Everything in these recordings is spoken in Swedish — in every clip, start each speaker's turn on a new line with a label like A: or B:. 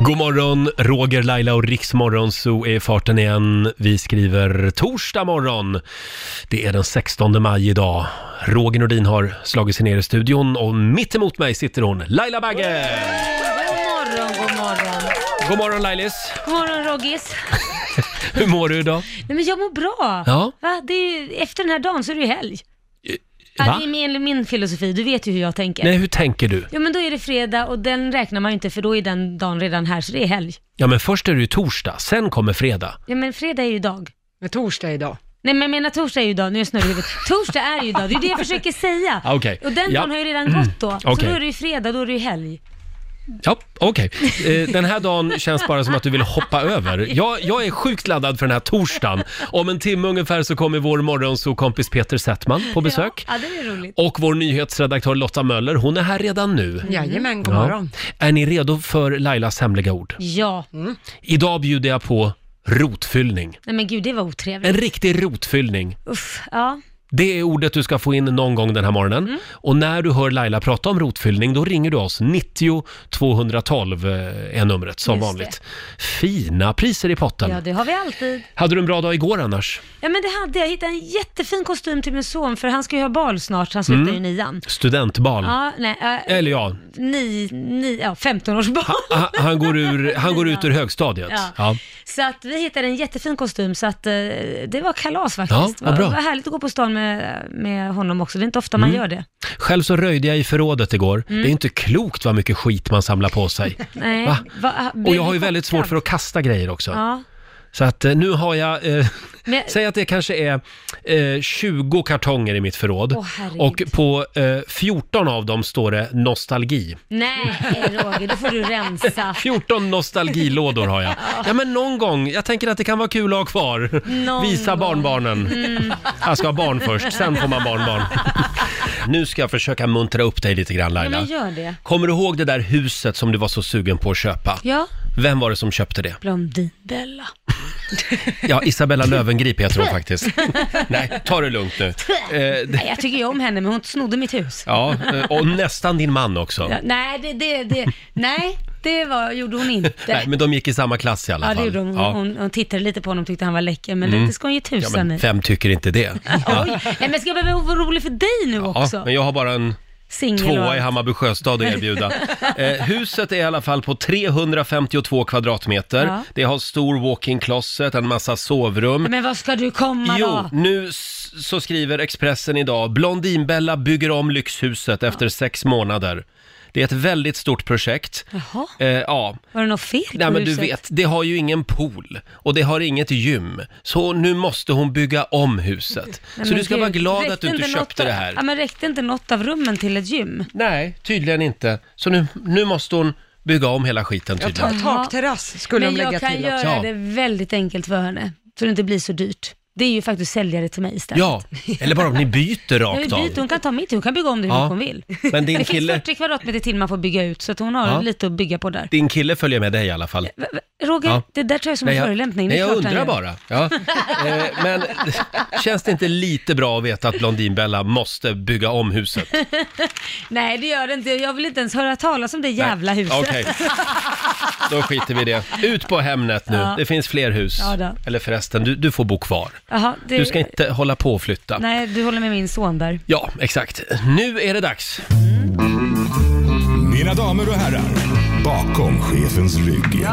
A: God morgon, Roger, Laila och Riksmorgon så är i farten igen. Vi skriver torsdag morgon. Det är den 16 maj idag. Roger Nordin har slagit sig ner i studion och mitt emot mig sitter hon, Laila Bagge!
B: God morgon, god morgon.
A: God morgon Lailis!
B: God morgon Roggis.
A: Hur mår du idag?
B: Nej men jag mår bra.
A: Ja. Eh,
B: Va? Det är, efter den här dagen så är det ju helg. Ja,
A: Va?
B: det är min, min filosofi, du vet ju hur jag tänker.
A: Nej, hur tänker du?
B: Ja men då är det fredag och den räknar man ju inte för då är den dagen redan här så det är helg.
A: Ja, men först är det ju torsdag, sen kommer fredag.
B: Ja men fredag är ju dag.
C: Men torsdag är idag.
B: Nej men jag menar torsdag är ju dag, nu är jag snurrig i huvudet. Torsdag är ju dag, det är det jag försöker säga.
A: Ah, okej.
B: Och den
A: Ja. Mm.
B: dagen har ju redan gått då. Så
A: Okej.
B: då är det ju fredag, då är det ju helg.
A: Ja, okej. Eh, Den här dagen känns bara som att du vill hoppa över. Jag, jag är sjukt laddad för den här torsdagen. Om en timme ungefär så kommer vår morgonsokompis Peter Settman på besök.
B: Ja, ja det är roligt.
A: Och vår nyhetsredaktör Lotta Möller, hon är här redan nu.
C: Jajamän, god
A: Ja.
C: morgon.
A: Är ni redo för Lailas hemliga ord?
B: Ja,
A: Idag bjuder jag på rotfyllning.
B: nej men gud det var otrevligt.
A: En riktig rotfyllning.
B: Uff, ja.
A: Det är ordet du ska få in någon gång den här morgonen.
B: Mm.
A: Och när du hör Laila prata om rotfyllning, då ringer du oss. 90 212 eh, är numret som
B: Just det.
A: vanligt. Fina priser i potten.
B: ja, det har vi alltid.
A: Hade du en bra dag igår annars?
B: Ja men det hade jag. Jag hittade en jättefin kostym till min son för han ska ju ha bal snart, han slutar ju nian.
A: Mm. Studentbal.
B: Ja, nej, äh,
A: Eller ja,
B: ni, ni, ja, 15 års barn.
A: ha- han går, ur, han går ut ur högstadiet. Ja.
B: Ja. Så att vi hittade en jättefin kostym så att eh, det var kalas faktiskt.
A: Ja, vad bra. Mm.
B: Det var härligt att gå på stan med, med honom också, det är inte ofta man gör det.
A: Själv så röjde jag i förrådet igår.
B: Mm.
A: Det är inte klokt vad mycket skit man samlar på sig.
B: Nej,
A: Va?
B: va-
A: Och
B: blev
A: jag har ju
B: du
A: väldigt svårt
B: chockad?
A: för att kasta grejer också.
B: Ja,
A: Så att eh, nu har jag, eh,
B: men,
A: säg att det kanske är eh, 20 kartonger i mitt förråd.
B: Åh, herregud.
A: och på eh, 14 av dem står det nostalgi.
B: nej Roger, då får du rensa.
A: 14 nostalgilådor har jag. Ja men någon gång, jag tänker att det kan vara kul att ha kvar.
B: Någon
A: Visa
B: gång.
A: barnbarnen.
B: Mm.
A: Jag ska ha barn först, sen får man barnbarn. Nu ska jag försöka muntra upp dig lite grann
B: Ja,
A: Laila.
B: men gör det.
A: Kommer du ihåg det där huset som du var så sugen på att köpa?
B: Ja,
A: Vem var det som köpte det?
B: Blondinbella.
A: Ja, Isabella Lövengrip heter hon faktiskt. Nej, ta det lugnt nu. Eh, det-
B: Nej, jag tycker ju om henne men hon snodde mitt hus.
A: ja, eh, och nästan din man också.
B: Ja, nej, det, det, det, nej, det var, gjorde hon inte.
A: Nej, men de gick i samma klass i alla
B: ja,
A: fall. Mm.
B: det gjorde hon. Hon, hon. hon tittade lite på honom och tyckte han var läcker, men lite ska hon ju
A: Ja,
B: tusan
A: men
B: i.
A: vem tycker inte det?
B: Oj, nej, men ska jag behöva vara orolig för dig nu
A: Ja,
B: också?
A: men jag har bara en
B: Singel och
A: tvåa
B: allt.
A: i Hammarby sjöstad att erbjuda. Eh, huset är i alla fall på 352 kvadratmeter.
B: Ja.
A: Det har stor walk-in closet, en massa sovrum.
B: Men vad ska du komma
A: Jo,
B: då?
A: nu s- så skriver Expressen idag, Blondinbella bygger om lyxhuset efter sex månader. Det är ett väldigt stort projekt.
B: Jaha,
A: Eh, ja,
B: var det något fel på
A: nej men du
B: huset?
A: vet, det har ju ingen pool och det har inget gym. Så nu måste hon bygga om huset.
B: Nej,
A: så
B: men
A: du ska
B: gud,
A: vara glad
B: räckte
A: att du inte
B: något
A: köpte
B: av-
A: det här.
B: Ja, men räckte inte något av rummen till ett gym?
A: Nej, tydligen inte. Så nu, nu måste hon bygga om hela skiten
C: Jag
A: tydligen.
C: tar takterrass skulle
B: Men
C: de lägga
B: jag kan
C: till också.
B: göra
A: Ja.
B: det väldigt enkelt för henne, så det inte blir så dyrt. Det är ju faktiskt säljare till mig istället.
A: Ja, eller bara om ni byter
B: Jag vill
A: rakt av.
B: byta, hon kan ta mitt hus, hon kan bygga om det hur
A: Ja.
B: mycket hon vill.
A: Men
B: Men
A: din
B: det
A: kille,
B: finns 40 kvadratmeter till man får bygga ut, så att hon har
A: Ja.
B: lite att bygga på där.
A: din kille följer med dig i alla fall.
B: V- v- Roger,
A: Ja.
B: det där tar jag som en
A: jag,
B: förolämpning. Det
A: nej,
B: är
A: jag
B: klart han
A: undrar
B: gör.
A: bara. Ja. Eh, men känns det inte lite bra att veta att Blondinbella måste bygga om huset?
B: Nej, det gör det inte. Jag vill inte ens höra talas om det jävla
A: Nej.
B: huset.
A: Okej. Då skiter vi i det. Ut på Hemnet nu.
B: Ja.
A: Det finns fler hus.
B: Ja, då.
A: Eller förresten, du, du får bo kvar.
B: Jaha, det...
A: Du ska inte hålla på och flytta.
B: Nej, du håller med min son där.
A: Ja, exakt. Nu är det dags.
D: Mina damer och herrar, bakom chefens rygg.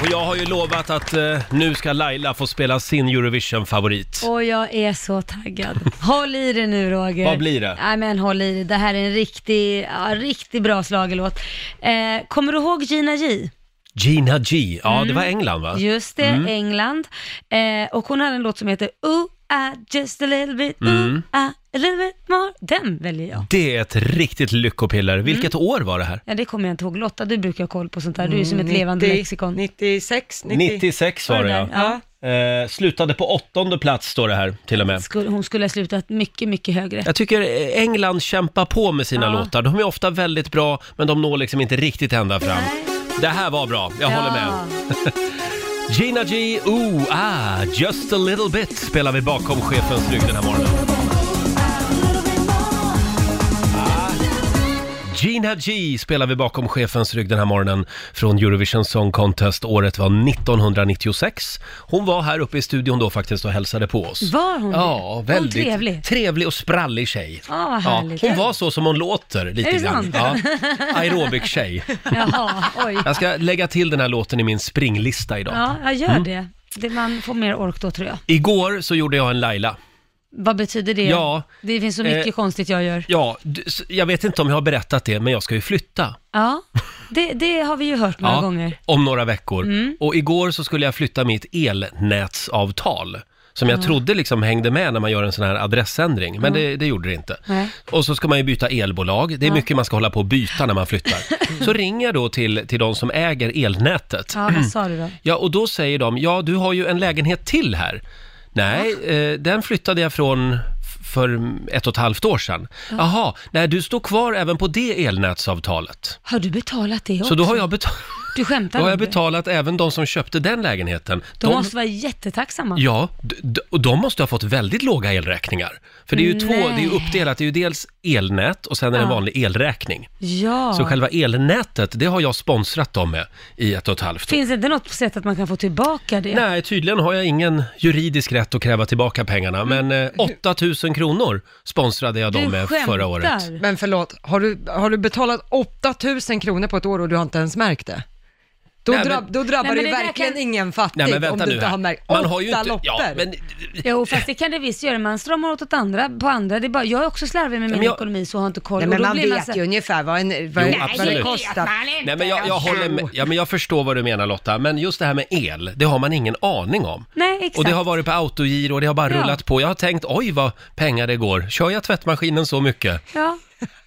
A: Och jag har ju lovat att eh, nu ska Laila få spela sin Eurovision-favorit.
B: Och jag är så taggad. Håll i det nu Roger.
A: Vad blir det?
B: Nej men håll i det. Det här är en riktig, ja, riktigt bra slagelåt. Eh, kommer du ihåg Gina J?
A: Gina G. Ja, det var England va?
B: Mm.
A: Mm.
B: Just det, England. Eh, och hon hade en låt som heter Ooh, I just a little bit, ooh,
A: Mm.
B: I a little bit more. Den väljer jag.
A: Det är ett riktigt lyckopiller. Vilket
B: Mm.
A: år var det här?
B: Ja, det kommer jag inte ihåg. Lotta, du brukar ha koll på sånt där. Du är som ett
A: Mm,
B: levande
C: 90,
B: lexikon.
C: 96, 90.
A: 96 var det ja.
B: Ja.
A: Eh, slutade på åttonde plats står det här till och med.
B: Skulle, hon skulle ha slutat mycket, mycket högre.
A: Jag tycker eh, England kämpar på med sina
B: Ja.
A: låtar. De är ofta väldigt bra, men de når liksom inte riktigt ända fram. Det här var bra, jag håller med. Gina G, ooh, ah, just a little bit spelar vi bakom chefens rygg den här morgonen. Ah. Gina G spelar vi bakom chefens rygg den här morgonen från Eurovision Song Contest. Året var 1996. Hon var här uppe i studion då faktiskt och hälsade på oss.
B: Var hon det?
A: Ja,
B: Mm. Hon
A: väldigt
B: trevlig?
A: trevlig och sprallig tjej.
B: Ja, Ah, vad härligt.
A: hon var så som hon låter lite
B: Är det
A: grann.
B: sant?
A: Ja, Aerobic-tjej.
B: Jaha, oj.
A: Jag ska lägga till den här låten i min springlista idag. Mm.
B: Ja, jag gör det. det. Man får mer ork då tror jag.
A: Igår så gjorde jag en Laila.
B: Vad betyder det?
A: Ja,
B: Det finns så mycket
A: eh,
B: konstigt jag gör.
A: Ja, d- s- jag vet inte om jag har berättat det, men jag ska ju flytta.
B: Ja, det, det har vi ju hört några
A: Ja,
B: gånger.
A: Om några veckor.
B: Mm.
A: Och igår så skulle jag flytta mitt elnätsavtal. Som jag
B: Ja.
A: trodde liksom hängde med när man gör en sån här adressändring, men
B: Ja.
A: det, det gjorde det inte.
B: Nej.
A: Och så ska man ju byta elbolag, det är
B: Ja.
A: mycket man ska hålla på och byta när man flyttar. Så ringer jag då till, till de som äger elnätet.
B: Ja, vad sa du då?
A: Ja, och då säger de, ja du har ju en lägenhet till här. Nej, eh, den flyttade jag från f- för ett och ett halvt år sedan. Jaha, nej du står kvar även på det elnätsavtalet.
B: Har du betalat det också?
A: Så då har jag, beta-
B: Du
A: då
B: skämtar
A: har
B: om
A: jag
B: det?
A: betalat även de som köpte den lägenheten.
B: De, måste vara jättetacksamma.
A: Ja, d- d- och de måste ha fått väldigt låga elräkningar. För det är ju två,
B: Nej.
A: det är ju uppdelat, det är ju dels elnät och sen är det en
B: Ja.
A: vanlig elräkning.
B: Ja.
A: Så själva elnätet, det har jag sponsrat dem med i ett och ett halvt år.
B: Finns det inte något sätt att man kan få tillbaka det?
A: Nej, tydligen har jag ingen juridisk rätt att kräva tillbaka pengarna, men eh, 8 000 kronor sponsrade jag
B: Mm. Du
A: dem med förra året.
B: skämtar.
C: Men förlåt, har du, har du betalat 8000 kronor på ett år och du har inte ens märkt det? Då,
A: Nej,
C: drabb,
A: men-
C: då drabbar
B: Nej, men
C: det
B: det där
C: verkligen
B: kan-
C: ingen fattig
A: Nej, men vänta
C: om du
A: nu
C: inte
A: här.
C: har märkt.
A: Man har ju
C: Åtta
A: inte...
C: lotter!
A: Ja, men,
B: Jo, fast det kan det visst göra. Man stramar åt åt andra, på andra. Det är bara, jag är också slarvig med min
A: jag-
B: ekonomi så har inte koll.
C: Nej,
B: Och
C: men
B: då
C: man
B: blir
C: vet
B: så-
C: ju ungefär vad, en, vad,
A: Jo,
C: en- vad det
A: absolut.
C: kostar.
A: nej, men jag, jag håller med. Ja, men jag förstår vad du menar Lotta, men just det här med el, det har man ingen aning om.
B: Nej, exakt.
A: Och det har varit på autogiro och det har bara
B: Ja.
A: rullat på. Jag har tänkt, oj vad pengar det går. Kör jag tvättmaskinen så mycket?
B: Ja,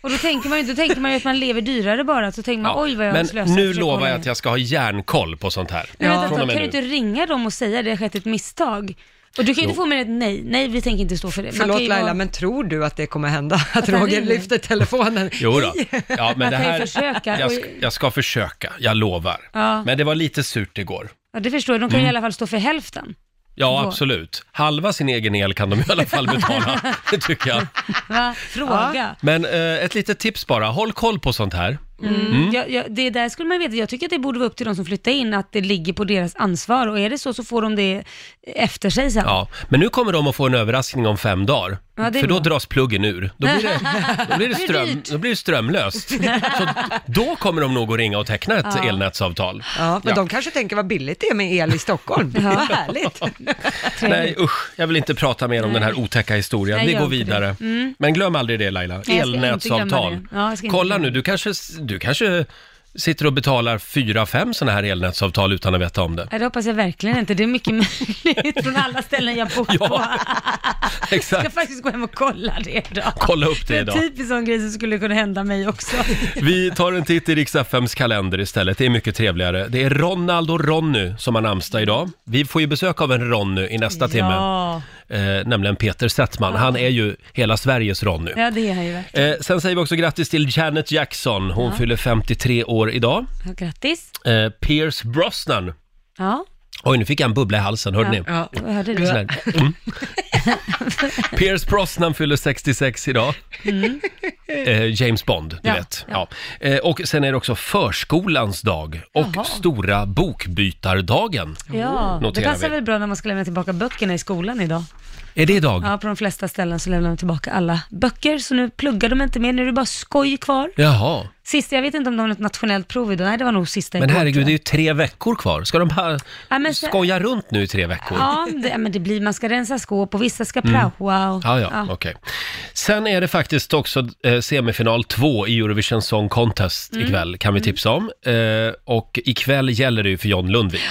B: och då tänker man ju då tänker man ju att man lever dyrare bara, så tänker man
A: Ja.
B: oj vad jag har
A: Men
B: slösat.
A: nu
B: försöker
A: lovar
B: hålla
A: jag
B: mig.
A: att jag ska ha järnkoll på sånt här.
B: Men
C: Ja.
B: vänta,
A: Från och
B: ja.
A: med
B: kan du
A: nu.
B: inte ringa dem och säga det har skett ett misstag? Och du kan ju inte
A: Jo.
B: få med ett nej, nej vi tänker inte stå för det. Man kan
C: Förlåt
B: ju
C: Laila,
B: vara-
C: men tror du att det kommer hända? Att
B: det
C: Roger
B: ringer?
C: lyfter telefonen?
A: Jo då. Ja, men
B: Man kan
A: det
B: ju
A: här,
B: försöka.
A: Jag, ska, jag ska försöka, jag lovar.
B: Ja.
A: Men det var lite surt igår.
B: Ja, det förstår jag, de kan
A: Mm.
B: ju i alla fall stå för hälften.
A: Ja,
B: Då.
A: absolut. Halva sin egen el kan de i alla fall betala, det tycker jag.
B: Va? Fråga.
A: Men eh, ett litet tips bara, håll koll på sånt här.
B: Mm. Jag, jag, det där skulle man veta, jag tycker att det borde vara upp till de som flyttar in, att det ligger på deras ansvar och är det så så får de det efter sig sen.
A: Ja, men nu kommer de att få en överraskning om fem dagar.
B: Ja, det är
A: för då
B: bra.
A: dras pluggen ur. Då blir det, då blir det,
B: blir
A: ström,
B: dyrt.
A: då blir det strömlöst. Så då kommer de nog att ringa och teckna ett
B: Ja.
A: elnätsavtal.
C: Ja, men
A: Ja.
C: de kanske tänker vad billigt det är med el i Stockholm. Vad härligt.
A: Nej usch, jag vill inte prata mer om den här otäcka historien.
B: Nej,
A: Vi
B: gör
A: går
B: inte
A: vidare.
B: det. Mm.
A: Men glöm aldrig det Laila,
B: Nej, jag ska inte
A: elnätsavtal.
B: glömma det. Ja, jag ska inte
A: Kolla
B: glömma
A: nu,
B: det.
A: du kanske, du kanske sitter och betalar fyra, fem sådana här elnätsavtal utan att veta om det.
B: Ja, det hoppas jag verkligen inte. Det är mycket möjligt från alla ställen jag bor på.
A: Ja,
B: Jag ska
A: Exakt,
B: faktiskt gå hem och kolla det idag.
A: kolla upp
B: Det
A: det
B: är en
A: idag.
B: typisk sån grej som skulle kunna hända mig också.
A: Vi tar en titt i Rix FMs kalender istället, det är mycket trevligare. Det är Ronald och Ronny som har namnsdag idag. Vi får ju besök av en Ronny i nästa timme,
B: Ja,
A: eh, nämligen Peter Settman. Han är ju hela Sveriges Ronny.
B: ja det är han ju verkligen.
A: Eh, sen säger vi också grattis till Janet Jackson. Hon fyller 53 år idag.
B: Ja, Grattis.
A: Eh, Pierce Brosnan.
B: Ja,
A: Oj, nu fick jag en bubbla i halsen, hörde ni?
C: Ja.
B: jag hörde
A: Sån
B: det.
A: här, Mm. Pierce Brosnan fyller 66 idag.
B: Mm.
A: Eh, James Bond, du
B: Ja,
A: vet. Ja. Eh, och sen är det också förskolans dag och
B: Jaha.
A: stora bokbytardagen.
B: Ja, det
A: Noterar
B: passar
A: vi.
B: väl bra när man ska lämna tillbaka böckerna i skolan idag.
A: Är det idag?
B: Ja, på de flesta ställen så lämnar de tillbaka alla böcker, så nu pluggar de inte mer, nu är det bara skoj kvar.
A: Jaha,
B: Sista, jag vet inte om de har något nationellt prov idag, nej det var nog sista
A: men
B: igår,
A: herregud,
B: tror
A: det är
B: jag.
A: ju tre veckor kvar. Ska de här
B: Ja, men så-
A: skoja runt nu i tre veckor?
B: Ja, det, ja, men det blir, man ska rensa skåp och vissa ska praoa och...
A: Mm. Ja, ja, okej. Sen är det faktiskt också eh, semifinal två i Eurovision Song Contest
B: Mm.
A: ikväll, kan vi tipsa om. Eh, och ikväll gäller det ju för John Lundvik.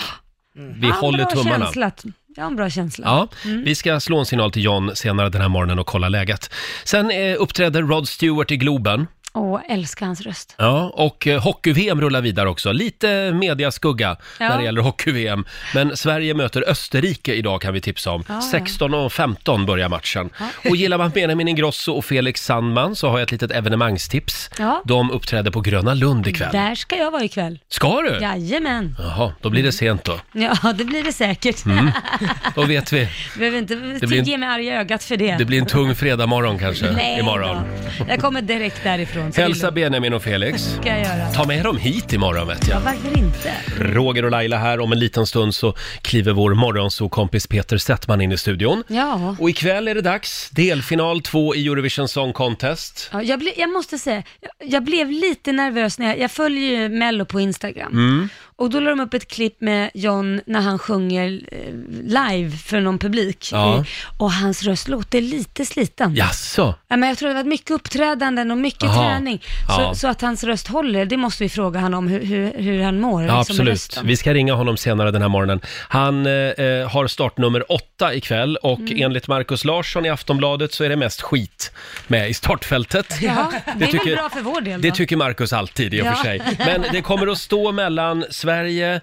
A: Vi
B: Ja, en
A: håller
B: bra
A: tummarna.
B: Känsla. Jag har en bra känsla. Mm.
A: Ja, vi ska slå en signal till John senare den här morgonen och kolla läget. Sen eh, uppträder Rod Stewart i Globen.
B: Åh, jag älskar hans röst.
A: Ja, och eh, hockey-VM rullar vidare också. Lite mediaskugga
B: Ja.
A: när det gäller hockey-VM. Men Sverige möter Österrike idag kan vi tipsa om.
B: Ja, ja.
A: 16 och 15 börjar matchen. Och gillar man Benjamin Ingrosso och Felix Sandman så har jag ett litet evenemangstips.
B: Ja.
A: De uppträder på Gröna Lund ikväll.
B: Där ska jag vara ikväll.
A: Ska du?
B: Jajamän.
A: Jaha, då blir det sent då.
B: Ja, det blir det säkert.
A: Då vet vi.
B: Behöver inte
A: Mm. blir en-
B: ge mig arga ögat för det.
A: Det blir en tung fredagmorgon kanske
B: Nej
A: imorgon.
B: då. Jag kommer direkt därifrån. härifrån. så
A: Hälsa
B: vill
A: Benjamin och Felix.
B: du- ska jag göra.
A: Ta med dem hit imorgon vet jag.
B: Ja, varför inte?
A: Roger och Laila här. Om en liten stund så kliver vår morgonsokompis Peter Settman in i studion.
B: Ja.
A: Och ikväll är det dags. Delfinal 2 i Eurovision Song Contest.
B: Ja, jag, ble, jag måste säga, jag, jag blev lite nervös när jag, jag följer ju Mello på Instagram.
A: Mm.
B: Och då la de upp ett klipp med John när han sjunger eh, live för någon publik.
A: Ja.
B: I, och hans röst låter lite sliten.
A: Jaså?
B: Ja, men jag tror det har varit mycket uppträdanden och mycket
A: Aha.
B: träning. Så,
A: Ja.
B: så att hans röst håller, det måste vi fråga honom om hur, hur, hur han mår.
A: Ja,
B: liksom, med
A: absolut.
B: rösten.
A: Vi ska ringa honom senare den här morgonen. Han eh, eh, har startnummer åtta ikväll och
B: Mm.
A: enligt Markus Larsson i Aftonbladet så är det mest skit med i startfältet.
B: Ja, det är
A: tycker-
B: väl bra för vår del
A: Det
B: då?
A: tycker Marcus alltid i och
B: Ja.
A: för sig. Men det kommer att stå mellan Sverige,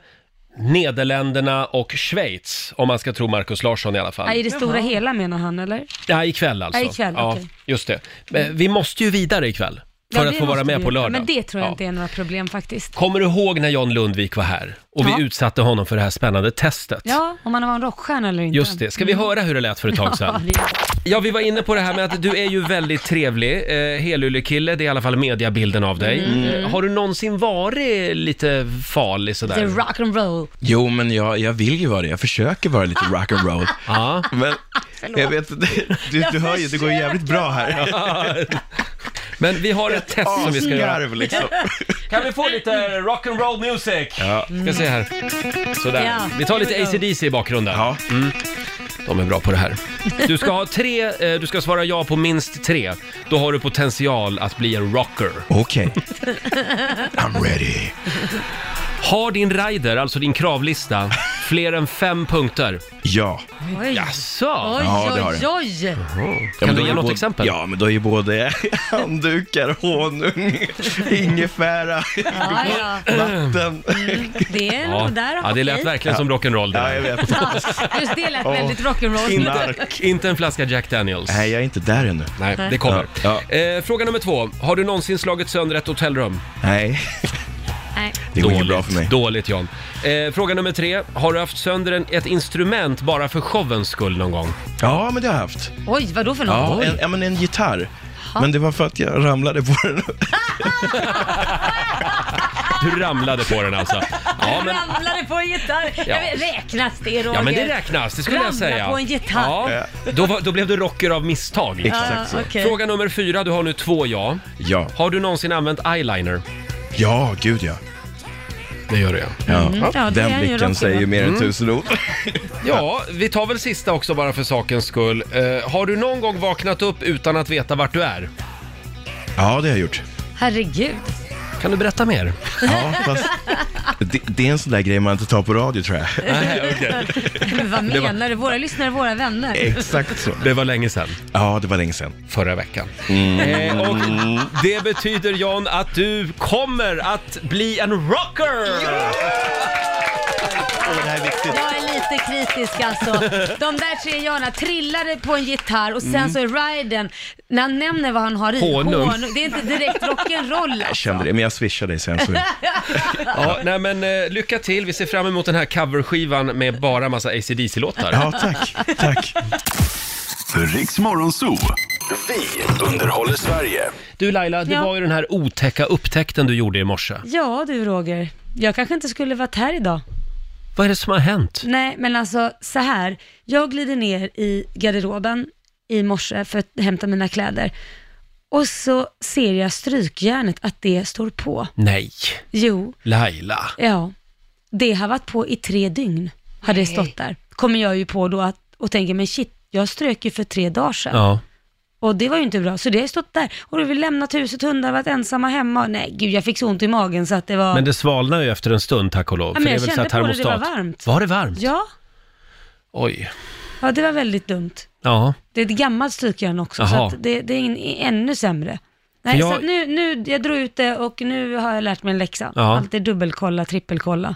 A: Nederländerna och Schweiz, om man ska tro Marcus Larsson i alla fall.
B: Ja, I det stora hela menar han, eller?
A: Ja, ikväll alltså.
B: Ja, ikväll, okej.
A: just det. Men vi måste ju vidare ikväll för
B: Ja,
A: att
B: det
A: få vara
B: måste
A: med
B: vi
A: på
B: göra.
A: lördag.
B: Men det tror jag inte
A: Ja.
B: är några problem faktiskt.
A: Kommer du ihåg när John Lundvik var här och vi
B: Ja.
A: utsatte honom för det här spännande testet?
B: Ja, om man var en rockstjärna eller inte.
A: Just det. Ska vi höra hur det lät för ett tag
B: Ja,
A: sedan?
B: vi-
A: Ja, vi var inne på det här med att du är ju väldigt trevlig, eh, helyllekille, det är i alla fall mediabilden av dig. Eh, har du någonsin varit lite farlig sådär?
B: The rock and roll.
E: Jo, men jag, jag vill ju vara det. Jag försöker vara lite rock'n'roll.
A: Ja.
E: Men jag vet inte, du, du hör ju, det går ju jävligt bra här.
A: Men vi har ett test som vi ska göra.
E: Asgarv, liksom.
A: Kan vi få lite rock'n'roll music? Ja. Ska se här. Sådär.
B: Ja,
A: Vi tar
B: here we
A: lite
B: go.
A: ACDC i bakgrunden. Mm.
E: Ja,
A: De är bra på det här. Du ska ha tre, eh, du ska svara ja på minst tre. Då har du potential att bli en rocker.
E: okej. I'm ready.
A: Har din rider, alltså din kravlista, fler än fem punkter?
E: Ja.
B: Oj.
A: Jaså?
B: Oj,
E: Ja, det har
B: oj, oj.
E: Ja,
A: Kan
E: men
A: du
E: då
A: ge
E: är
A: något
E: både,
A: exempel?
E: Ja, men då är ju både handdukar, honung, ingefära,
B: Ja, ja.
E: vatten.
B: Det är
A: Ehm. Ja,
B: nog där.
A: ja det lät
B: okej.
A: verkligen som rock'n'roll
E: Ja,
A: där.
E: jag vet.
B: Just det lät väldigt rock'n'roll.
E: Knark.
A: Inte en flaska Jack Daniels.
E: Nej, jag är inte där ännu.
A: Nej, det kommer.
E: Ja,
A: Eh, fråga nummer två. Har du någonsin slagit sönder ett hotellrum?
E: Nej,
B: Nej.
E: det går inte bra för mig.
A: Dåligt John. Eh, fråga nummer tre. Har du haft sönder en, ett instrument bara för showens skull någon gång?
E: Ja, men det har jag haft.
B: Oj, vad då för något?
E: Ja, en, ja men en gitarr. Men det var för att jag ramlade på den.
A: Du ramlade på den alltså. Ja, men,
B: Ramlade på en gitarr. Jag vet, räknas det Roger?
A: ja, men det räknas, det skulle jag
B: Ramla
A: säga.
B: på en gitarr.
A: Ja, då, var, då blev du rocker av misstag.
E: Exakt så.
B: okej.
A: Fråga nummer fyra. Du har nu två ja.
E: Ja,
A: Har du någonsin använt eyeliner?
B: Mm.
E: ja, gud ja.
A: Det gör jag.
E: ja.
B: Ja, det
E: Den
B: är ju rocken,
E: blicken säger
B: va?
E: ju mer
A: Mm.
E: än tusen ord.
A: Ja, vi tar väl sista också bara för sakens skull. Eh, har du någon gång vaknat upp utan att veta vart du är?
E: Ja, det har jag gjort.
B: Herregud.
A: Kan du berätta mer?
E: Ja, fast det, det är en sån där grej man inte tar på radio tror jag.
A: Nej, okej.
B: Men vad menar du? Våra lyssnare, våra vänner.
E: Exakt så.
A: Det var länge sedan.
E: Ja, det var länge sedan. Mm.
A: Förra veckan. Eh, och det betyder John att du kommer att bli en rocker!
E: Åh, det här är viktigt.
B: Jag är lite kritisk alltså. De där tre Jana trillade på en gitarr och sen så är Ryden, när han nämner vad han har i,
A: Mm. Honung.
B: Det är inte direkt rock'n'roll.
E: Jag kände det, men jag swishar dig sen så.
A: Ja, nej men eh, lycka till. Vi ser fram emot den här coverskivan med bara massa ACDC-låtar.
E: Ja, tack. Tack.
D: Riks Morgonzoo. Vi underhåller Sverige.
A: Du Laila, det
B: Ja.
A: var ju den här otäcka upptäckten du gjorde i morse.
B: Ja du Roger, jag kanske inte skulle varit här idag.
A: Vad är det som har hänt?
B: Nej men alltså så här, jag glider ner i garderoben i morse för att hämta mina kläder och så ser jag strykjärnet att det står på.
A: Nej,
B: Jo,
A: Laila.
B: ja, det har varit på i tre dygn, har det stått där. Kommer jag ju på då att, och tänker, men shit, jag strök ju för tre dagar sedan.
A: Ja.
B: Och det var ju inte bra, så det har ju stått där. Och då har vi lämnat huset, hundar varit ensamma hemma. Nej, gud jag fick så ont i magen så att det var...
A: Men det svalnade ju efter en stund, tack och lov.
B: men
A: för det är
B: jag
A: väl så här
B: kände på det, det var
A: termostat.
B: varmt.
A: Var det varmt?
B: Ja,
A: Oj.
B: ja, det var väldigt dumt.
A: Ja.
B: Det är ett gammalt strykjärn också, så
A: Jaha.
B: att det, det är in, ännu sämre. Nej,
A: jag-
B: så att nu, nu, jag drog ut det och nu har jag lärt mig en läxa.
A: Ja.
B: Alltid dubbelkolla, trippelkolla.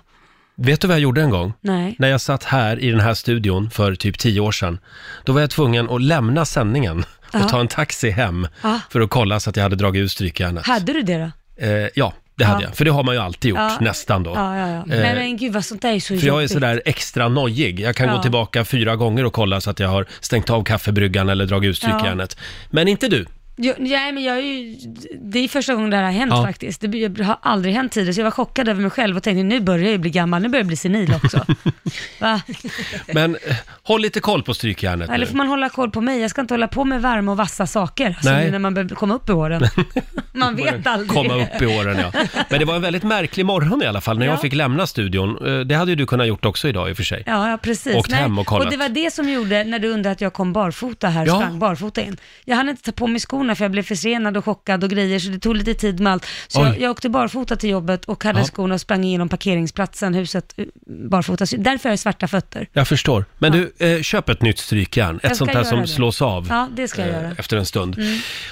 A: Vet du vad jag gjorde en gång?
B: Nej.
A: När jag satt här i den här studion för typ tio år sedan, då var jag tvungen att lämna sändningen och
B: Ja.
A: ta en taxi hem
B: Ja.
A: för att kolla så att jag hade dragit ut strykjärnet.
B: Ah, Hade du det då?
A: Eh, ja, det hade jag. För det har man ju alltid gjort,
B: Ja.
A: nästan då. Eh,
B: Ja, ja, ja. Nej men gud vad sånt där är så
A: För jag är
B: jobbigt.
A: sådär extra nojig. Jag kan gå
B: Ja.
A: tillbaka fyra gånger och kolla så att jag har stängt av kaffebryggan eller dragit ut strykjärnet. Men inte du.
B: Jo, nej, men jag är ju, det är första gången det här har hänt
A: Ja.
B: faktiskt. Det be- har aldrig hänt tidigare, så jag var chockad över mig själv och tänkte nu börjar jag ju bli gammal, nu börjar jag bli senil också. Va?
A: Men eh, håll lite koll på strykjärnet
B: Eller
A: nu.
B: får man hålla koll på mig? Jag ska inte hålla på med varma och vassa saker, alltså,
A: Nej.
B: nu när man börjar komma upp i åren. man vet aldrig.
A: Komma upp i åren ja. Men det var en väldigt märklig morgon i alla fall när
B: Ja.
A: jag fick lämna studion. Eh, Det hade ju du kunnat gjort också idag i och för sig.
B: Ja, ja precis.
A: Åkt hem och kollat.
B: det var det som gjorde, när du undrade att jag kom barfota här,
A: Ja.
B: sprang barfota in. Jag hann inte ta på mig skorna för jag blev försenad och chockad och grejer, så det tog lite tid med allt. Så
A: Oj.
B: jag, jag åkte barfota till jobbet och hade
A: Ja.
B: skorna och sprang igenom parkeringsplatsen, huset, eh, barfota. Så Därför har jag svarta fötter.
A: Jag förstår. Men du, eh, köp ett nytt strykjärn.
B: Jag ska
A: Ett sånt där
B: göra
A: som
B: det.
A: slås av.
B: Ja, det ska jag
A: eh,
B: göra. Mm.
A: Efter en stund.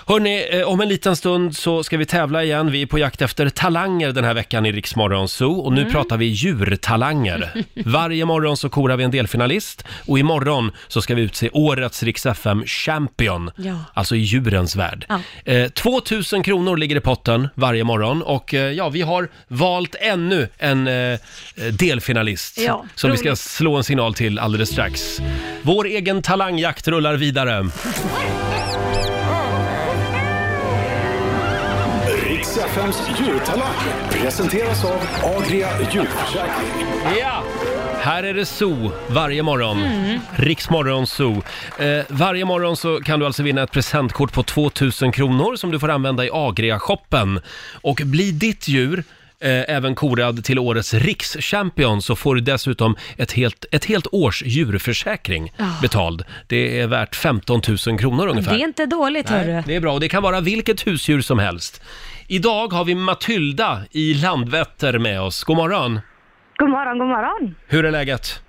A: Hörni, eh, om en liten stund så ska vi tävla igen. Vi är på jakt efter talanger den här veckan i Riksmorgon Zoo. Och
B: Mm.
A: nu pratar vi djurtalanger. Varje morgon så korar vi en delfinalist. Och imorgon så ska vi utse årets Rix FM Champion.
B: Ja.
A: Alltså i djurens värld.
B: Ja.
A: Eh, 2000 kronor ligger i potten varje morgon. Och eh, ja, vi har valt ännu en eh, delfinalist.
B: Ja,
A: som vi ska
B: roligt.
A: slå en signal till alldeles strax. Vår egen talangjakt rullar vidare.
D: Riks FMs djurtalang presenteras av Agria djurförsäkring.
A: Ja! Här är det zoo varje morgon.
B: Mm.
A: Riksmorgon zoo. Eh, varje morgon så kan du alltså vinna ett presentkort på 2000 kronor som du får använda i Agria-shoppen. Och blir ditt djur eh, även korad till årets rikschampion så får du dessutom ett helt, ett helt års djurförsäkring betald. Det är värt 15 000 kronor ungefär.
B: Det är inte dåligt, hörru.
A: Nej, det är bra och det kan vara vilket husdjur som helst. Idag har vi Matilda i Landvetter med oss. God morgon!
F: God morgon, god morgon.
A: Hur är läget?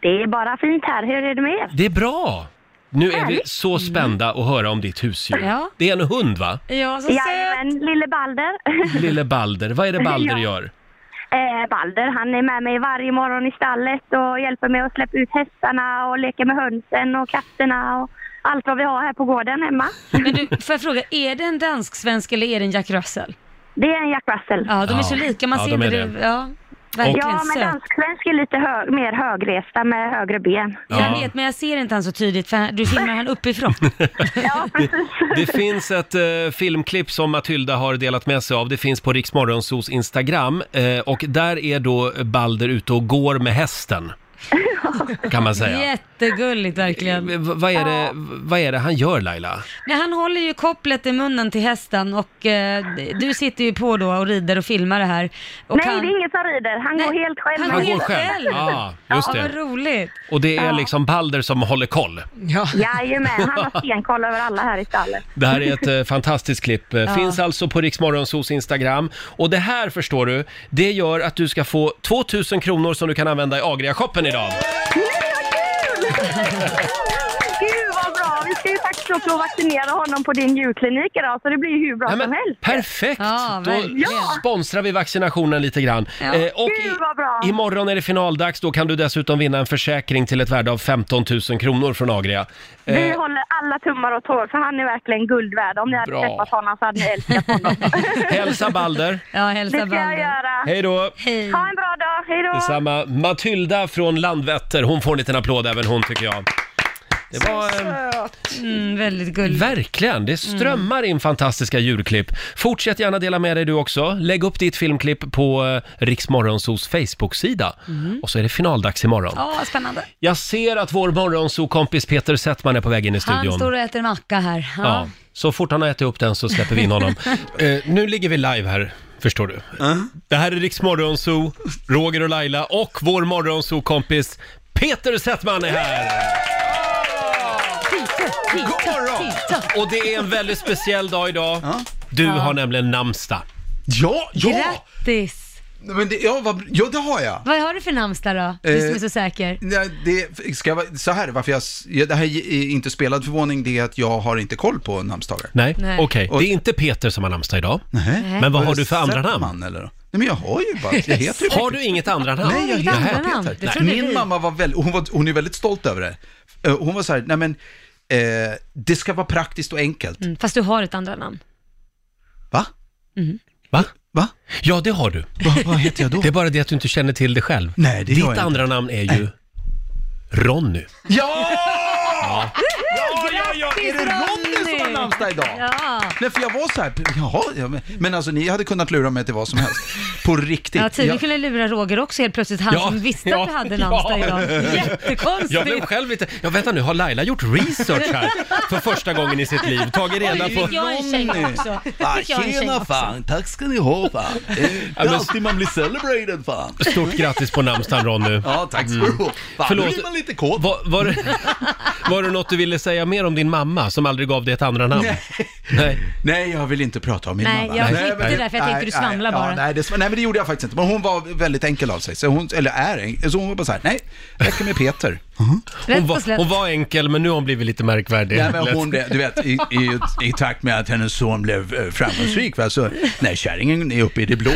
F: Det är bara fint här. Hur är det med er?
A: Det är bra! Nu är vi så spända att höra om ditt husdjur.
B: Ja.
A: Det är en hund va?
B: Ja, så söt.
F: Jajamän, lille Balder.
A: Lille Balder. Vad är det Balder
F: Ja.
A: gör?
F: eh, Balder, han är med mig varje morgon i stallet och hjälper mig att släppa ut hästarna och leka med hönsen och katterna och allt vad vi har här på gården hemma.
B: Men du, får jag fråga, är det en dansk-svensk eller är det en Jack Russell?
F: Det är en Jack Russell.
B: Ja, de
A: Ja.
B: är så lika, man
A: Ja,
B: ser
A: de
B: inte
A: är
B: det. Ja,
F: Ja,
B: verkligen
F: men
B: söt.
F: dansk-svensk är lite hö- mer högresta med högre ben.
A: Ja.
B: Jag vet, men jag ser inte han så tydligt för du filmar han uppifrån.
F: Ja, precis.
A: Det finns ett eh, filmklipp som Matilda har delat med sig av. Det finns på Riksmorgonsos Instagram eh, och där är då Balder ute och går med hästen. Kan man säga.
B: Jättegulligt verkligen.
A: Eh, V- vad, är det, vad är det han gör Laila?
B: Nej, han håller ju kopplet i munnen till hästen och eh, du sitter ju på då och rider och filmar det här. Och
F: Nej,
B: han,
F: det är ingen som rider. Han
B: Nej,
F: går helt själv.
B: han
A: Han går
B: Helt
A: själv.
B: själv.
A: Ja, just
B: Ja, vad
A: det.
B: roligt.
A: Och det är liksom Balder som håller koll.
C: Ja.
F: Jajamän, han har stenkoll över alla här i stallet.
A: Det här är ett eh, fantastiskt klipp. Eh, Finns alltså på Riksmorgonsos Instagram. Och det här förstår du, det gör att du ska få 2000 kronor som du kan använda i Agria-shoppen idag.
F: Gud vad bra! Vi ska ju faktiskt också vaccinera honom på din djurklinik idag så det blir ju hur bra
A: Nej,
F: som
A: men,
F: helst.
A: perfekt!
B: Ja,
A: Då
B: verkligen.
A: sponsrar vi vaccinationen lite grann.
B: Ja.
A: Eh, och
F: Gud, vad bra.
A: i, imorgon är det finaldags, då kan du dessutom vinna en försäkring till ett värde av 15 000 kronor från Agria. Eh,
F: Vi håller alla tummar och tår för han är verkligen guld värd. Om ni hade
A: Bra.
F: träffat honom så hade ni älskat honom.
A: hälsa Balder!
B: Ja,
F: det ska
B: hälsa
F: jag
B: banden.
F: göra.
A: Hej då!
B: Hej.
F: Ha en bra dag, hej då!
A: Detsamma. Matilda från Landvetter, hon får en liten applåd även hon tycker jag. Det var... eh,
B: Mm, väldigt gulligt. Mm.
A: Verkligen, det strömmar in fantastiska djurklipp. Fortsätt gärna dela med dig du också. Lägg upp ditt filmklipp på eh, Riksmorgonsos Facebook-sida. Och så är det finaldags imorgon.
B: Mm. Ja, spännande.
A: Jag ser att vår morgonsokompis Peter Settman är på väg in i
B: Han
A: studion.
B: står och äter en macka här. Ja.
A: ja. Så fort han har ätit upp den så släpper vi in honom. Eh, nu ligger vi live här. Förstår du?
G: Uh-huh.
A: Det här är Riks Morgonzoo, Roger och Laila och vår morgonzoo-kompis Peter Settman är här! Och det är en väldigt speciell dag idag. Du har nämligen namnsdag.
G: Ja, ja!
B: Grattis!
G: Men det, ja, vad, ja, det har jag.
B: Vad har du för namnsdag då? Du som
G: Eh,
B: är så säker.
G: Nej, Det, ska jag, vara- så här, varför jag, s- ja, det här är inte spelad förvåning, det är att jag har inte koll på namnsdagar.
A: Nej,
B: Nej.
A: okej. Det är inte Peter som har namnsdag idag.
G: Nej.
A: Men vad har du för andra
G: Settman,
A: namn?
G: Eller? Nej, men jag har ju bara, jag heter ju
A: Har du inget andra namn?
G: Nej, jag
B: Ditt andra
G: heter
B: namn?
G: Peter.
B: Det trodde vi.
G: Min mamma var väldigt, hon, var, hon är väldigt stolt över det. Eh, Hon var så här, nej men, eh, det ska vara praktiskt och enkelt.
B: Mm, Fast du har ett andra namn. Mm.
G: Va?
A: Va?
G: Va?
A: Ja, det har du.
G: Va? Vad heter jag då?
A: Det är bara det att du inte känner till det själv.
G: Nej, det gör
A: Ditt
G: jag inte.
A: andra namn är ju Ronny.
G: Ja! Ja! Ja, ja, ja! Är det Ronny som har namnsdag idag?
B: Ja.
G: Nej, för jag var så här, jaha, ja, men, men alltså ni hade kunnat lura mig till vad som helst. På riktigt.
B: Ja, tydligen
G: Jag-
B: kunde lura Roger också helt plötsligt, han
A: Ja,
B: som visste
A: ja,
B: att du hade namnsdag
A: ja.
B: idag.
A: Jag blev
B: Jättekonstigt.
A: själv lite... Ja, vänta nu, har Laila gjort research här för första gången i sitt liv? Tagit reda
B: Nu
A: på...
B: fick jag en känga också. Nu
H: Ah,
B: fick jag en känga
H: tjena
B: också.
H: fan, tack ska ni ha fan. Eh, Det
A: men-
H: är alltid man blir celebrated fan.
A: Stort grattis på namnsdagen Ronny. Mm.
H: Ja, tack ska du ha. Fan,
A: Förlåt.
H: nu blir man lite kåt.
A: Var, var, det- var det något du ville säga mer om din mamma som aldrig gav dig ett andra namn? Nej.
G: Nej, jag vill inte prata om min
B: Nej,
G: mamma.
B: jag
A: klippte
G: men-
B: därför jag tänkte du
G: nej,
B: svamlar
G: ja,
B: bara.
G: nej, det, sv- nej, men det gjorde jag faktiskt inte. Men hon var väldigt enkel av sig. Så hon, eller är enkel. Så hon var bara så här, nej, räcker med Peter.
A: Hon,
B: Uh-huh. Rätt och
A: var, hon
B: slätt.
A: var enkel, men nu har hon blivit lite märkvärdig.
G: Nej, men hon blev, du vet, i, i, i takt med att hennes son blev eh, framgångsrik, va, så, nej, kärringen är uppe i det blå.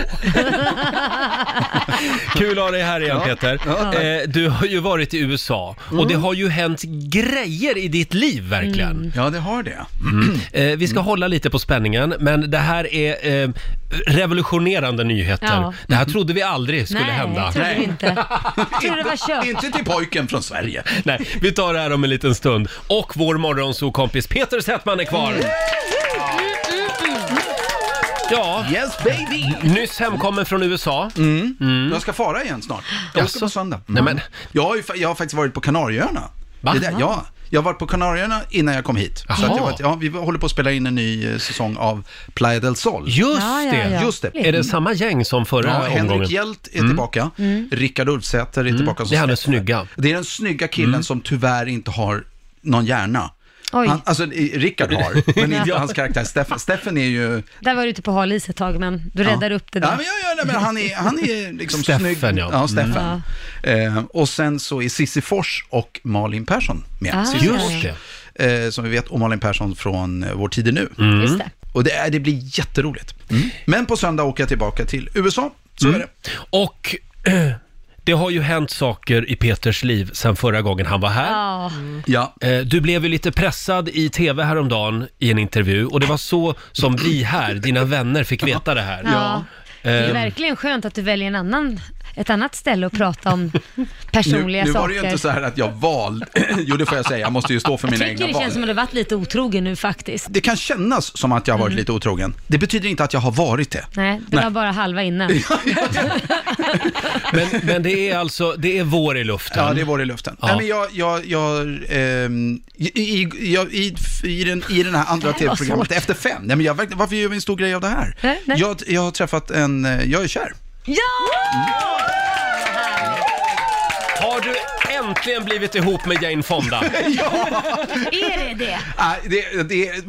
A: Kul att ha dig här igen Peter. Eh, du har ju varit i USA och det har ju hänt grejer i ditt liv verkligen.
B: Mm.
G: Ja, det har det.
A: Eh, vi ska hålla lite på spänningen, men det här är eh, revolutionerande nyheter.
B: Ja.
A: Det här trodde vi aldrig skulle
B: Nej,
A: hända.
B: trodde
G: Nej.
B: vi inte. Jag trodde det var kört.
G: Inte till pojken från Sverige.
A: Nej, vi tar det här om en liten stund. Och vår morgonsokompis Peter Settman är kvar. Ja,
G: Yes, baby! Mm.
A: nyss hemkommen från USA. Mm.
G: Jag ska fara igen snart. Jag
A: Jaså?
G: ska på söndag. Mm.
A: Nej, men-
G: jag, har ju, fa- jag har faktiskt varit på Kanarieöarna.
A: Va?
G: Det där, ja, jag har varit på Kanarieöarna innan jag kom hit. Så att
A: Jaha.
G: jag, var- ja, vi håller på att spela in en ny eh, säsong av Playa del Sol.
A: Just
B: Ja, ja,
A: det!
B: ja.
G: Just det.
A: Är det samma gäng som förra
G: Ja,
A: omgången? Mm.
G: Henrik Hjelt är tillbaka.
B: Mm.
G: Rickard Ulfsäter är tillbaka. som
A: Det är han den
G: spelare.
A: snygga. Mm.
G: Det är den snygga killen som tyvärr inte har någon hjärna.
B: Oj.
G: Han, alltså, i- Rickard har, men inte hans karaktär Steffen. Steffen är ju...
B: Där var du ute på hal is ett tag, men du räddade upp det där.
G: Ja, men, jag gör det, men han är, han är liksom
A: Steffen,
G: snygg.
A: ja. Mm.
G: Steffen. Eh, och sen så är Sissi Fors och Malin Persson med.
B: Ah.
G: Sissi
A: Just det. Mm.
G: Fors, eh, som vi vet, och Malin Persson från eh, Vår tid är nu.
B: Just det.
G: Och det, är, det blir jätteroligt. Mm. Men på söndag åker jag tillbaka till USA. Så
A: Mm.
G: är det.
A: Och eh, det har ju hänt saker i Peters liv sen förra gången han var här.
B: Ja,
G: Ja.
A: Eh, Du blev ju lite pressad i tv häromdagen i en intervju och det var så som vi här, dina vänner, fick veta det här.
B: ja. Det är
G: Ehm.
A: Eh,
B: verkligen skönt att du väljer en annan, ett annat ställe att prata om personliga
G: nu, nu
B: saker.
G: var det ju inte så här att jag valde, jo det får jag säga, jag måste ju stå för
B: jag
G: mina
B: tycker
G: egna
B: det
G: val.
B: känns som att du varit lite otrogen nu faktiskt.
G: Det kan kännas som att jag har
B: Mm.
G: varit lite otrogen. Det betyder inte att jag har varit det.
B: Nej, det var bara halva innan.
A: Men, men det är alltså, det är vår i luften.
G: Ja, det var det i luften.
A: Ja.
G: Nej, men jag, jag, jag, ehm, i, i, jag i, i, den, i den här andra
B: här var
G: tv-programmet,
B: svårt.
G: Efter fem, nej, men jag, verkligen- varför gör vi en stor grej av det här?
B: Nej, nej.
G: Jag, jag har träffat en, eh, jag är kär.
B: Ja!
A: Har du äntligen blivit ihop med Jane Fonda?
B: Är det det?
G: Nej, Ah, det, det,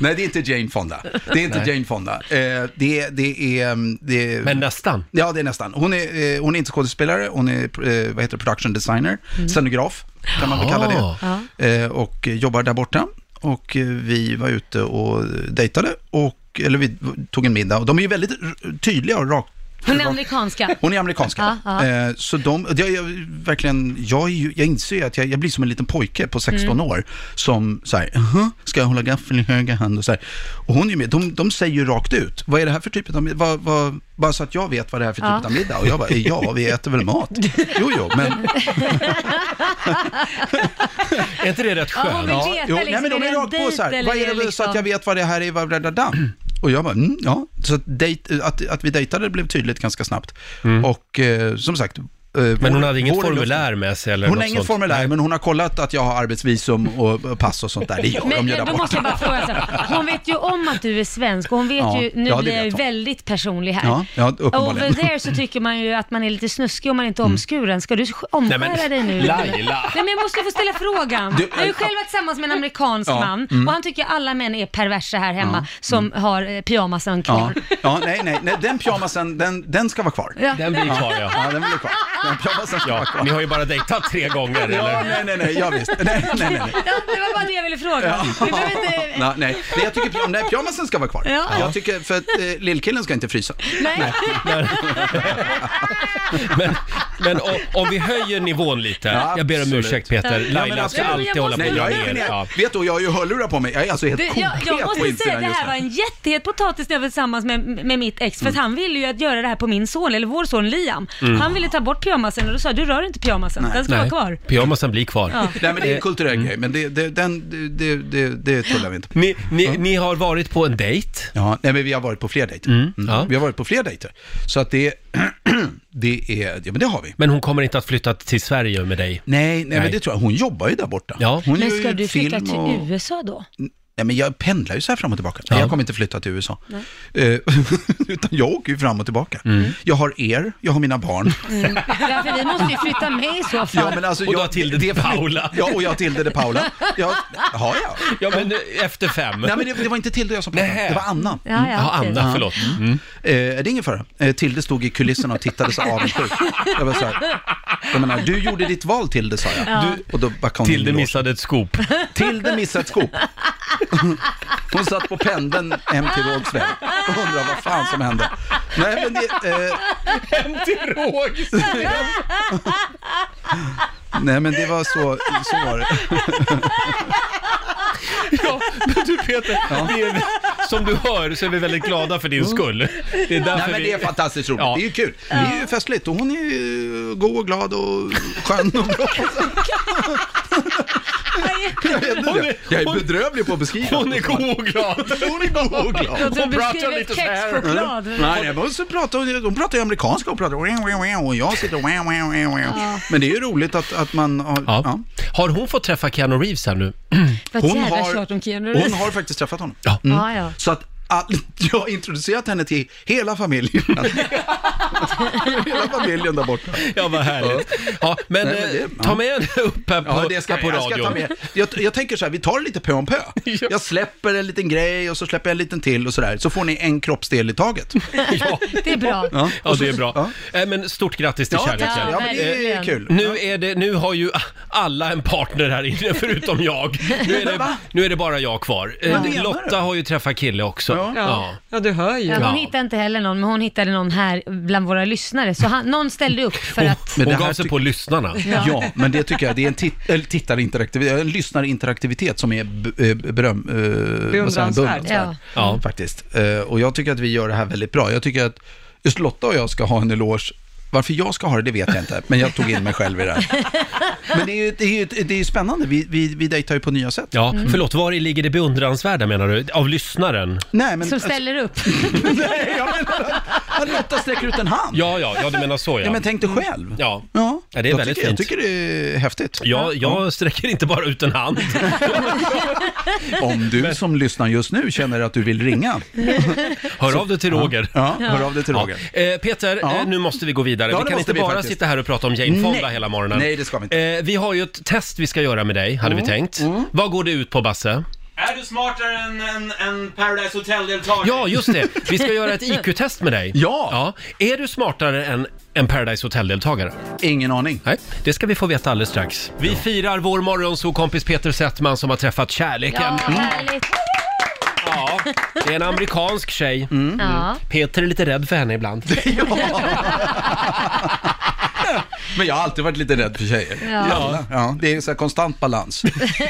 G: nej, det är inte Jane Fonda. Det är inte Jane Fonda. Eh, det, det är... mm, Det,
A: Men nästan.
G: Ja, det är nästan. Hon är, eh, hon är inte skådespelare, hon är eh, vad heter det, production designer,
B: Mm.
G: scenograf kan man väl kalla det. Eh, och jobbar där borta. Och eh, vi var ute och dejtade, och, eller vi tog en middag. Och de är ju väldigt r- tydliga och rakt.
B: Hon är amerikanska.
G: Hon är amerikanska.
B: Ja, ja.
G: Eh, så de, jag, jag, verkligen, jag, är ju- jag inser ju att jag, jag blir som en liten pojke på 16
B: Mm.
G: år som så här, "Jaha, ska jag hålla gaffeln i höger hand och så här. Och hon är med, de, de säger ju rakt ut, vad är det här för typ av middag? Vad, vad, bara så att jag vet vad det här är för typ
B: Ja.
G: av middag. Och jag bara, ja, vi äter väl mat. Jo, jo, men...
A: Är inte det rätt
B: Ja, hon
A: skönt?
B: vill
G: Ja,
B: veta
G: jo,
B: liksom,
G: nej, men de är
B: det en
G: rakt på
B: dejt
G: så här,
B: eller
G: vad är
B: det
G: det, så
B: liksom-
G: att jag vet vad det här är, vad bla, bla, bla. Och jag bara, mm, ja. Så att, dejt, att, att vi dejtade blev tydligt ganska snabbt. Och eh, som sagt... eh,
A: Mm. Men hon
G: vår-
A: hade inget
G: vår-
A: formulär med sig eller
G: Hon har
A: något
G: inget
A: sånt.
G: formulär, men hon har kollat att jag har arbetsvisum och och pass och sånt där. Det gör
B: Men
G: de ju där
B: då
G: borta.
B: måste jag bara fråga så här. Hon vet ju om att du är svensk och hon vet
G: Ja,
B: ju, nu
G: ja, det
B: blir jag ju
G: vet hon.
B: väldigt personlig här.
G: Ja, ja, uppenbarligen. Mm.
B: Over there så tycker man ju att man är lite snuskig om man inte är omskuren. Ska du sk- omskära
A: Nej, men-
B: dig nu?
A: Laila.
B: Nej men jag måste få ställa frågan.
G: Du- mm.
B: jag har ju själv varit tillsammans med en amerikansk man och han tycker alla män är perversa här hemma som har eh, pyjamasen
G: Ja,
B: kvar.
G: ja nej, nej, nej, den pyjamasen, den, den ska vara kvar.
B: Ja.
A: Den blir kvar ja.
G: Ja, den blir kvar. Den pyjamasen ska vara
A: ja.
G: kvar.
A: Ni har ju bara dejtat tre gånger
G: Ja,
A: eller?
G: nej, nej, nej, ja, visst. Nej, nej, nej. nej.
B: Ja, det var bara det jag ville fråga.
G: Ja.
B: Du behöver inte...
G: Nej, nej. Men jag tycker nej, pyjamasen ska vara kvar.
B: Ja.
G: Jag tycker, för att eh, lillkillen ska inte frysa.
B: Nej.
A: Men Men om, om vi höjer nivån lite.
G: Ja,
A: jag ber om
G: absolut.
A: ursäkt Peter.
B: Ja, men
A: Laila
G: alltså-
A: ska
B: Nej, men jag
A: alltid hålla på
B: måste-
A: och
G: Nej,
A: dra
G: jag är
A: ner. Ja.
G: generad. Vet du, jag har ju hörlurar på mig. Jag är alltså helt
B: Det, jag,
G: komplet
B: jag
G: på
B: måste säga
G: insidan
B: att det här
G: just
B: var
G: nu. Mm.
B: en jättehet potatis när jag var tillsammans med, med mitt ex. För att han ville ju att göra det här på min son, eller vår son Liam. Han ville ta bort pyjamasen och då sa jag, du rör inte pyjamasen, den ska vara kvar.
A: pyjamasen blir kvar. Eh, mm.
B: Ja.
G: Nej, men det är en kulturell grej, men det, det, den, det- det, det, det tullar vi inte på.
A: Ni, ni, ni har varit på en dejt.
G: Ja, nej, men vi har varit på fler dejter. Mm.
A: ja.
G: Vi har varit på fler dejter. Så att det, det är, ja men det har vi.
A: Men hon kommer inte att flytta till Sverige med dig.
G: Nej, nej,
A: Nej.
G: men det tror jag. Hon jobbar ju där borta.
A: Ja.
G: Hon
B: Men
G: gör ju
B: ska du flytta
G: film
B: till
G: och-
B: USA då?
G: Nej, men jag pendlar ju så här fram och tillbaka. Nej,
A: Ja.
G: Jag kommer inte flytta till USA. Eh, utan jag åker ju fram och tillbaka.
A: Mm.
G: Jag har er, jag har mina barn.
B: Mm. Ja, för vi måste ju flytta med i så fall.
G: Ja, men alltså,
A: Och du
G: jag-
A: har Tilde de Paula.
G: Ja, och jag har Tilde de Paula. Ja, har jag?
A: Ja, men eh, efter fem.
G: Nej, men det, det var inte Tilde och jag som pratade,
A: Nähä.
G: det var Anna.
B: Ja, ja,
A: Ja,
B: okej.
A: Anna, förlåt. Mm.
G: Eh, det är ingen fara. Eh, Tilde stod i kulisserna och tittade så avundsjuk. Jag var så här, jag menar, du gjorde ditt val Tilde, sa jag. Du, och då backade hon in
A: Tilde
G: i låset.
A: missade ett scoop.
G: Tilde missade ett skop. Hon satt på pendeln hem till Rågsved och undrade vad fan som hände. Nej, men det... Eh,
A: Till råg.
G: Nej, men det var så, så var det.
A: Ja, men du Peter, vi är, som du hör så är vi väldigt glada för din skull. Det
G: Mm.
A: är
G: Nej,
A: därför
G: men det är
A: vi...
G: fantastiskt roligt.
A: Ja.
G: Det är ju kul. Det är ju festligt och hon är ju god och glad och skön och bra. Jag vet inte det. Jag är bedrövlig på att beskriva.
A: Hon är god och glad. Hon är god och glad.
B: Låt mig
A: Hon pratar
B: beskriva
A: lite så här.
B: kexchoklad.
G: Mm. Nej, nej, men så pratar hon, hon pratar ju amerikanska och pratar wow, wow, wow, och jag sitter wow, wow, wow, wow. Men det är ju roligt att, att man har, ja.
A: Ja. Har hon fått träffa Keanu Reeves här nu?
B: Vad
G: Hon
B: jävla
G: har-
B: tjat om Keanu
G: Hon
B: Reeves.
G: har faktiskt träffat honom. Ah,
A: Ja.
B: Ja, ja.
G: Mm. Så att all, jag har introducerat henne till hela familjen. hela familjen där borta.
A: Ja, vad härligt. Ja, men
G: Nej, men det-
A: eh, ta med henne upp här på,
G: Ja, det ska,
A: här på
G: jag,
A: radion.
G: ska ta med. Jag, jag tänker så här, vi tar det lite pö om pö. Jag släpper en liten grej och så släpper jag en liten till och sådär. Så får ni en kroppsdel i taget.
B: Det är bra.
G: Ja,
A: Ja, det är bra.
G: Ja.
A: Eh, Men stort grattis till
G: tack så
A: kärleken.
G: mycket. ja men det är
B: verkligen.
G: kul.
A: Nu, är det, nu har ju alla en partner här inne förutom jag. Nu är det, nu är det bara jag kvar. Eh,
G: Vad menar
A: Lotta
G: du?
A: har ju träffat kille också.
G: Ja.
A: Ja.
C: Ja, du hör ju.
B: Ja, hon
A: Ja.
B: hittade inte heller någon, men hon hittade någon här bland våra lyssnare. Så han, någon ställde upp för
A: Hon,
B: att...
G: Men
A: hon
G: det här
A: gav sig
G: ty-
A: på lyssnarna.
G: Ja. men det tycker jag, det är en, tit- eller tittarinteraktivitet, en lyssnarinteraktivitet som är b- eh, beröm, eh, vad säger man?
C: Beundransvärd.
B: Ja.
A: Ja.
G: Faktiskt. Eh, och jag tycker att vi gör det här väldigt bra. Jag tycker att just Lotta och jag ska ha en eloge. Varför jag ska ha det, det vet jag inte, men jag tog in mig själv i det här. Men det är ju, det är ju, det är ju spännande, vi, vi, vi dejtar ju på nya sätt.
A: Ja,
B: Mm.
A: förlåt, var i ligger det beundransvärda menar du? Av lyssnaren?
G: Nej, men... alltså-
B: Som ställer upp.
G: Nej, jag menar att Lotta sträcker ut en hand.
A: Ja, ja, ja du menar så ja.
G: Ja, men tänk dig själv.
A: Ja.
G: Ja,
A: Ja, det är
G: jag
A: väldigt
G: tycker,
A: fint.
G: Jag tycker det är häftigt.
A: Jag, jag sträcker inte bara ut en hand.
G: Om du som lyssnar just nu känner att du vill ringa,
A: Hör av dig till Roger.
G: ja, hör av dig till
A: Ja.
G: Roger.
A: Eh, Peter,
G: Ja.
A: eh, nu måste vi gå vidare.
G: Ja,
A: vi
G: det
A: kan
G: måste vi
A: inte bara
G: faktiskt.
A: sitta här och prata om Jane Fonda
G: Nej.
A: hela morgonen.
G: Nej, det ska vi inte. Mm.
A: Eh, vi har ju ett test vi ska göra med dig, hade vi tänkt. Vad går det ut på, Basse?
I: Är du smartare än en, en Paradise Hotel-deltagare?
A: Ja, just det. Vi ska göra ett IQ-test med dig.
G: Ja.
A: Är du smartare än en Paradise Hotel-deltagare?
G: Ingen aning.
A: Nej, det ska vi få veta alldeles strax. Vi firar vår morgonsokompis Peter Settman som har träffat kärleken.
B: Ja, härligt.
A: Ja, det är en amerikansk tjej.
G: Mm.
B: Ja.
A: Peter är lite rädd för henne ibland.
G: Men jag har alltid varit lite rädd för tjejer. Ja. Ja, det är ju så här konstant balans. det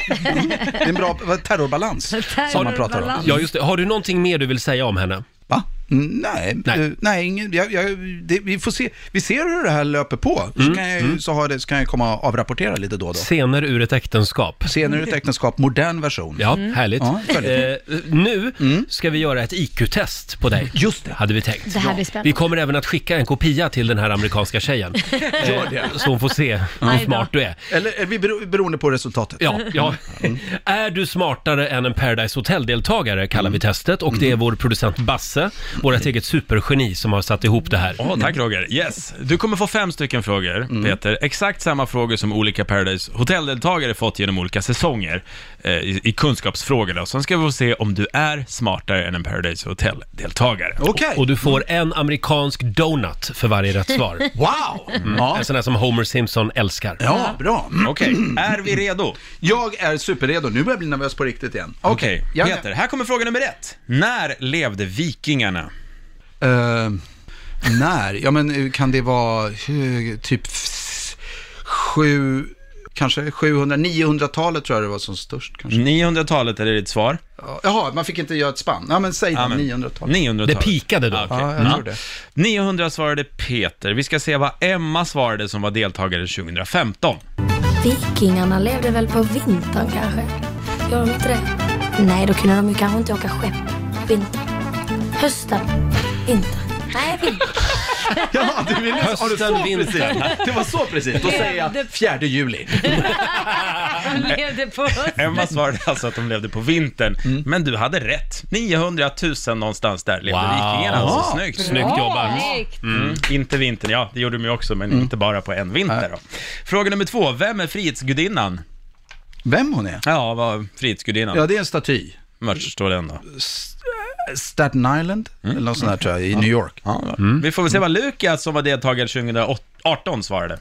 G: är en bra vad, terrorbalans som man pratar om.
B: Terrorbalans.
A: Ja, just det. Har du någonting mer du vill säga om henne?
G: Va? Mm, Nej,
A: Nej.
G: nej, nej ingen, jag, jag, det, vi får se. Vi ser hur det här löper på.
A: Mm.
G: Så, kan jag, ju- så, har det, så kan jag komma och avrapportera lite då och då.
A: Scener ur ett äktenskap.
G: Scener ur ett äktenskap, modern version.
A: Ja, härligt.
G: Ja, härligt.
A: Eh, nu ska vi göra ett IQ-test på dig.
G: Mm. Just det.
A: Hade vi tänkt.
B: Det här blir
A: Vi
B: spännande.
A: kommer även att skicka en kopia till den här amerikanska tjejen. Eh, så hon får se hur
B: Aj då.
A: smart du är.
G: Eller är vi bero, beroende på resultatet. Mm.
A: Ja, ja. Är du smartare än en Paradise Hotel-deltagare kallar
G: Mm.
A: vi testet och det är vår producent Basse, vårt eget supergeni som har satt ihop det här.
I: Ja, tack Roger. Yes. Du kommer få fem stycken frågor,
A: Mm.
I: Peter. Exakt samma frågor som olika Paradise Hotel-deltagare fått genom olika säsonger eh, i, i kunskapsfrågor. Då. Sen ska vi få se om du är smartare än en Paradise Hotel-deltagare.
G: Okej.
A: Och du får en amerikansk donut för varje rätt svar. Mm.
G: Wow! Ja.
A: En sån här som Homer Simpson älskar.
G: ja, bra. Mm.
I: Okej, är vi redo?
G: Jag är superredo. Nu börjar jag bli nervös på riktigt igen.
I: Okej,
G: jag är med.
I: Peter, här kommer fråga nummer ett. När levde vikingarna?
G: Eh, När? Ja, men eh, kan det vara eh, typ f- sju, kanske 700, 900-talet tror jag det var som störst. Kanske.
I: 900-talet är det ditt svar?
G: Jaha, man fick inte göra ett spann. Ja, men säg då,
I: Ja, men-
G: 900-talet.
I: 900-talet.
A: Det pikade då.
I: Ah, okej.
G: Ja, jag
I: Mm.
G: tror det.
I: 900 svarade Peter. Vi ska se vad Emma svarade som var deltagare 2015.
J: Vikingarna levde väl på vintern kanske? Gör de inte det? Nej, då kunde de ju kanske inte åka skepp. Vinter. Hösten. Vinter. Nej, vinter.
H: Ja, du vill ja, du
A: Hösten,
H: så
A: vintern.
H: precis. Det var så precis. Då säger jag 4 juli.
B: De levde på oss.
I: Emma svarade alltså att de levde på vintern, men du hade rätt. 900 000 någonstans där levde
A: Wow.
I: vikingarna. Alltså,
A: Ja,
I: snyggt.
A: Snyggt jobbat.
I: Mm. Inte vintern, ja det gjorde de ju också, men inte bara på en vinter då. Fråga nummer två, vem är frihetsgudinnan?
G: Vem hon är?
I: Ja, vad är frihetsgudinnan?
G: Ja, det är en staty.
I: Vart står den då? Mm.
G: Staten Island, eller något sånt där tror jag, i New York.
I: Vi får väl se vad Lukas som var deltagare 2018 svarade.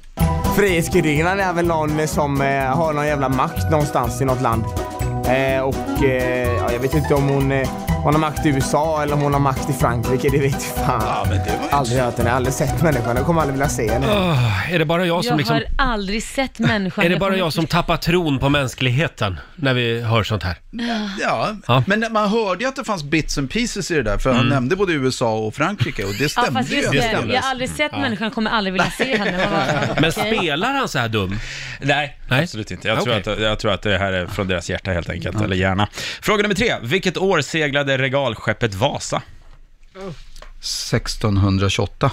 K: Frihetsgudinnan är väl någon som eh, har någon jävla makt någonstans i något land. Eh, och eh, ja, jag vet inte om hon, eh, hon har makt i USA eller om hon har makt i Frankrike, det vet jag fan. Aldrig hört henne, aldrig sett människan, jag kommer aldrig vilja se henne.
A: Åh, är det bara jag som
B: Jag
A: liksom...
B: har aldrig sett människan.
A: Är det bara
B: kommer-
A: jag som tappar tron på mänskligheten när vi hör sånt här?
G: Ja,
A: Ja.
G: men man hörde ju att det fanns bits and pieces i det där, för
I: Mm.
G: han nämnde både USA och Frankrike och det
B: Ja,
G: stämde
B: fast just
G: ju.
B: det. Jag har aldrig sett människan, kommer aldrig vilja se henne. Vad var det?
A: Men
B: Okej.
A: spelar han så här dum?
I: Nej,
A: Nej.
I: absolut inte. Jag,
A: Okej.
I: tror att, jag tror att det här är från deras hjärta helt enkelt, eller hjärna. Fråga nummer tre, vilket år seglade regalskeppet Vasa?
G: 1628.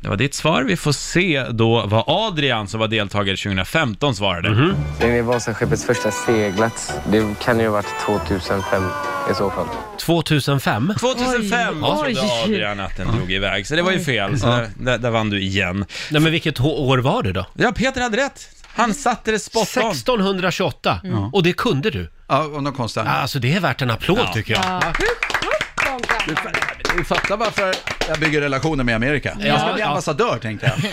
I: Det var ditt svar. Vi får se då vad Adrian, som var deltagare 2015, svarade.
K: När det Vasaskeppets första seglat, det kan ju ha varit 2005 i så fall.
A: 2005?
I: 2005
B: Oj,
I: trodde
B: oj.
I: Adrian att den drog iväg, så det var ju fel. Så där, där, där vann du igen.
A: Nej, men vilket h- år var det då?
I: Ja, Peter hade rätt. Han satte det spot on.
A: 1628. Och det kunde du.
G: Mm. Ja, av någon konstig anledning.
A: Alltså det är värt en applåd tycker jag.
B: Ja.
G: Du fattar varför jag bygger relationer med Amerika. jag ska bli
A: ja.
G: ambassadör, tänkte jag.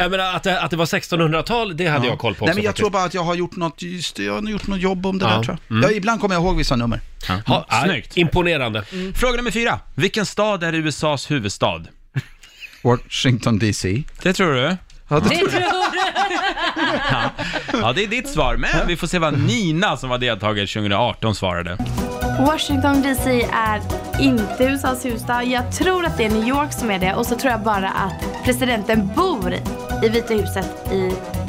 A: jag menar, att, det- att det var 1600-tal, det hade jag koll på också
G: Nej, men jag
A: faktiskt.
G: tror bara att jag har gjort något, just det, jag har gjort något jobb om det
A: Ja.
G: där tror jag. Ja, ibland kommer jag ihåg vissa nummer.
A: Ha, ja,
I: Snyggt.
A: Imponerande.
I: Fråga nummer fyra. Vilken stad är USAs huvudstad?
G: Washington DC.
I: Det tror du?
G: Ja, det-
B: Det tror du.
I: Ja, det är ditt svar, men vi får se vad Nina, som var deltagare 2018, svarade.
J: Washington DC är inte USAs huvudstad. Jag tror att det är New York som är det och så tror jag bara att presidenten bor i Vita huset i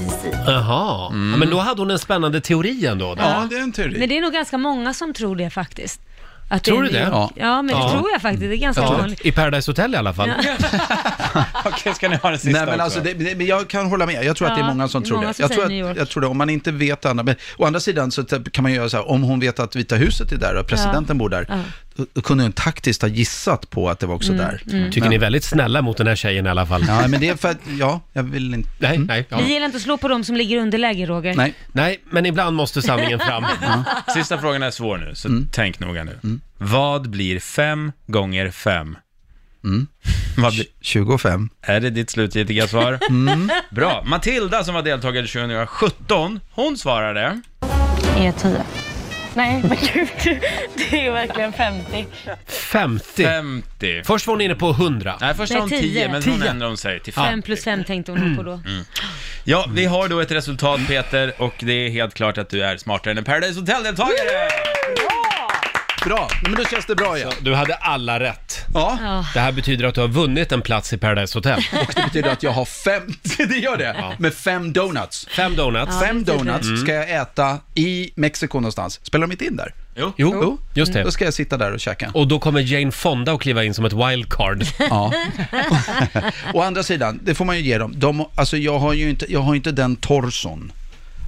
J: DC.
A: Jaha. Ja, men då hade hon en spännande teori ändå. Där.
G: Mm. Ja, det är en teori.
B: Men det är nog ganska många som tror det faktiskt. Att
A: Tror
B: är
A: du det?
B: New York. Ja, men
A: Ja.
B: det tror jag faktiskt. Det är ganska
A: Ja.
B: vanligt.
A: I Paradise Hotel i alla fall.
I: Okej, ska ni ha den sista
G: Nej men
I: också?
G: alltså, det, det, men jag kan hålla med. Jag tror att det är
B: Ja,
G: många som
B: det är
G: tror
B: många
G: det.
B: som
G: Jag tror,
B: säger New
G: att,
B: York.
G: jag tror det, om man inte vet annat. Men å andra sidan så typ kan man göra så här, om hon vet att Vita huset är där och presidenten bor där, då- då kunde hon taktiskt ha gissat på att det var
B: Mm,
G: också där.
A: Tycker ni är väldigt snälla mot den här tjejen i alla fall.
G: Ja, men det är för att, ja, jag vill inte...
A: Nej, nej. Ja.
B: Vi gillar inte att slå på dem som ligger i underläge, Roger.
G: Nej.
A: Nej, men ibland måste sanningen fram. Mm.
I: Sista frågan är svår nu, så tänk noga nu. Vad blir fem gånger fem?
A: Mm.
I: Vad blir,
G: 25.
I: är det ditt slutgiltiga svar?
A: Mm.
I: Bra. Matilda som var deltagare 2017, hon svarade
J: Är 10. Nej, men gud. Det är verkligen 50.
A: 50.
I: 50.
A: Först var hon inne på 100.
I: Nej, först sa hon
B: Nej, tio.
I: 10, men hon ändrar hon sig till 50.
B: Fem plus fem tänkte hon på då.
I: Mm. Ja, vi har då ett resultat Peter, och det är helt klart att du är smartare än en Paradise Hotel-deltagare!
G: Bra, men då känns det bra igen.
A: Du hade alla rätt.
G: Ja,
B: Ja.
A: Det här betyder att du har vunnit en plats i Paradise Hotel.
G: och det betyder att jag har fem, det gör det, med fem donuts.
A: Fem donuts.
G: Fem donuts
A: Mm.
G: ska jag äta i Mexiko någonstans. Spelar de inte in där?
I: Jo.
A: Jo, just det.
G: Då ska jag sitta där och käka.
A: Och då kommer Jane Fonda att kliva in som ett wildcard.
G: Ja. Å andra sidan, det får man ju ge dem. De, alltså jag har ju inte, jag har inte den torson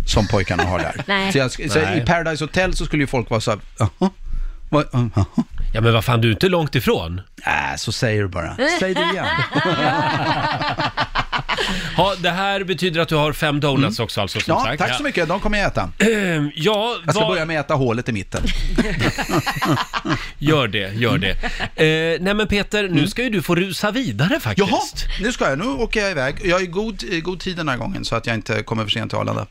G: som pojkarna har där.
B: Nej.
G: Så jag, så
A: Nej.
G: I Paradise Hotel så skulle ju folk vara så här, jaha, vad, jaha.
A: Ja, men vad fan, du är inte långt ifrån.
G: Äh, så säger du bara.
A: Mm.
G: Säg det igen.
A: Ja, det här betyder att du har fem donuts också alltså, som
G: Mm. Ja,
A: sagt.
G: tack så mycket, de kommer jag äta.
A: Ja, ja
G: Jag ska
A: vad-
G: börja med att äta hålet i mitten.
A: gör det, gör det. Eh, nej men Peter, nu ska ju du få rusa vidare faktiskt.
G: Mm. Jaha, nu ska jag, nu åker jag iväg. Jag är i god, i god tid den här gången så att jag inte kommer för sent till Arlanda.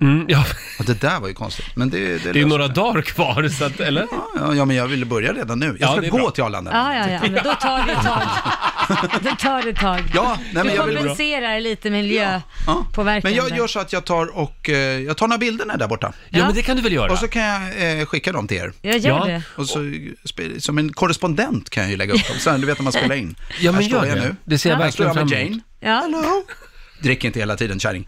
A: Mm, ja.
G: Och det där var ju konstigt. Men det, det,
A: Det är ju några dagar kvar, så att, eller?
G: Ja, ja, men jag ville börja redan nu. Jag
A: Ja,
G: ska
A: det är
G: gå
A: bra.
G: till Arlanda.
B: Ja, ja, ja, men då tar det ett tag. Då tar det ett tag.
G: Ja, nej, men
B: du
G: jag vill-
B: kompenserar lite miljöpåverkan.
G: Men jag
B: där.
G: gör så att jag tar och eh, jag tar några bilder när jag är där borta.
B: Ja, men det
A: kan du väl göra?
G: Och så kan jag eh, skicka dem till er.
B: Jag gör Ja. det.
G: Och så, spe- som en korrespondent kan jag ju lägga upp dem. Så här, du vet när man spelar in.
A: Ja, men
G: Här står
A: gör
G: jag
A: det.
G: nu.
A: Det ser jag
G: Här står
A: verkligen
G: jag
A: fram
G: med
A: emot.
B: Ja.
G: Jane. Hello. Drick inte hela tiden, kärring.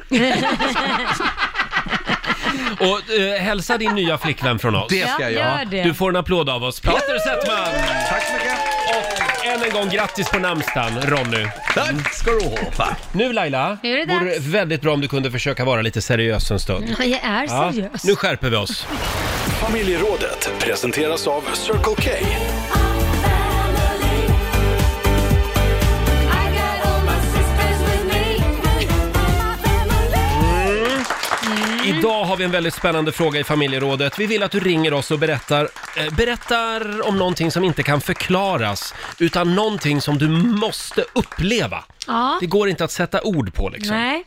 A: Och eh, hälsa din nya flickvän från oss.
G: Det ska jag
A: Ja,
G: göra. gör det.
A: Du får en applåd av oss. Peter Settman!
G: Tack så mycket!
A: Och än en gång grattis på namnsdagen, Ronny.
G: Tack ska du ha.
A: Nu Laila,
B: Nu är det
A: vore
B: dags.
A: väldigt bra om du kunde försöka vara lite seriös en stund.
B: Ja, jag är
A: Ja,
B: seriös.
A: nu skärper vi oss.
D: Familjerådet presenteras av Circle K.
A: Mm.
B: Mm.
A: Idag har vi en väldigt spännande fråga i familjerådet. Vi vill att du ringer oss och berättar, eh, berättar om någonting som inte kan förklaras, utan någonting som du måste uppleva.
B: Ja.
A: Det går inte att sätta ord på liksom.
B: Nej,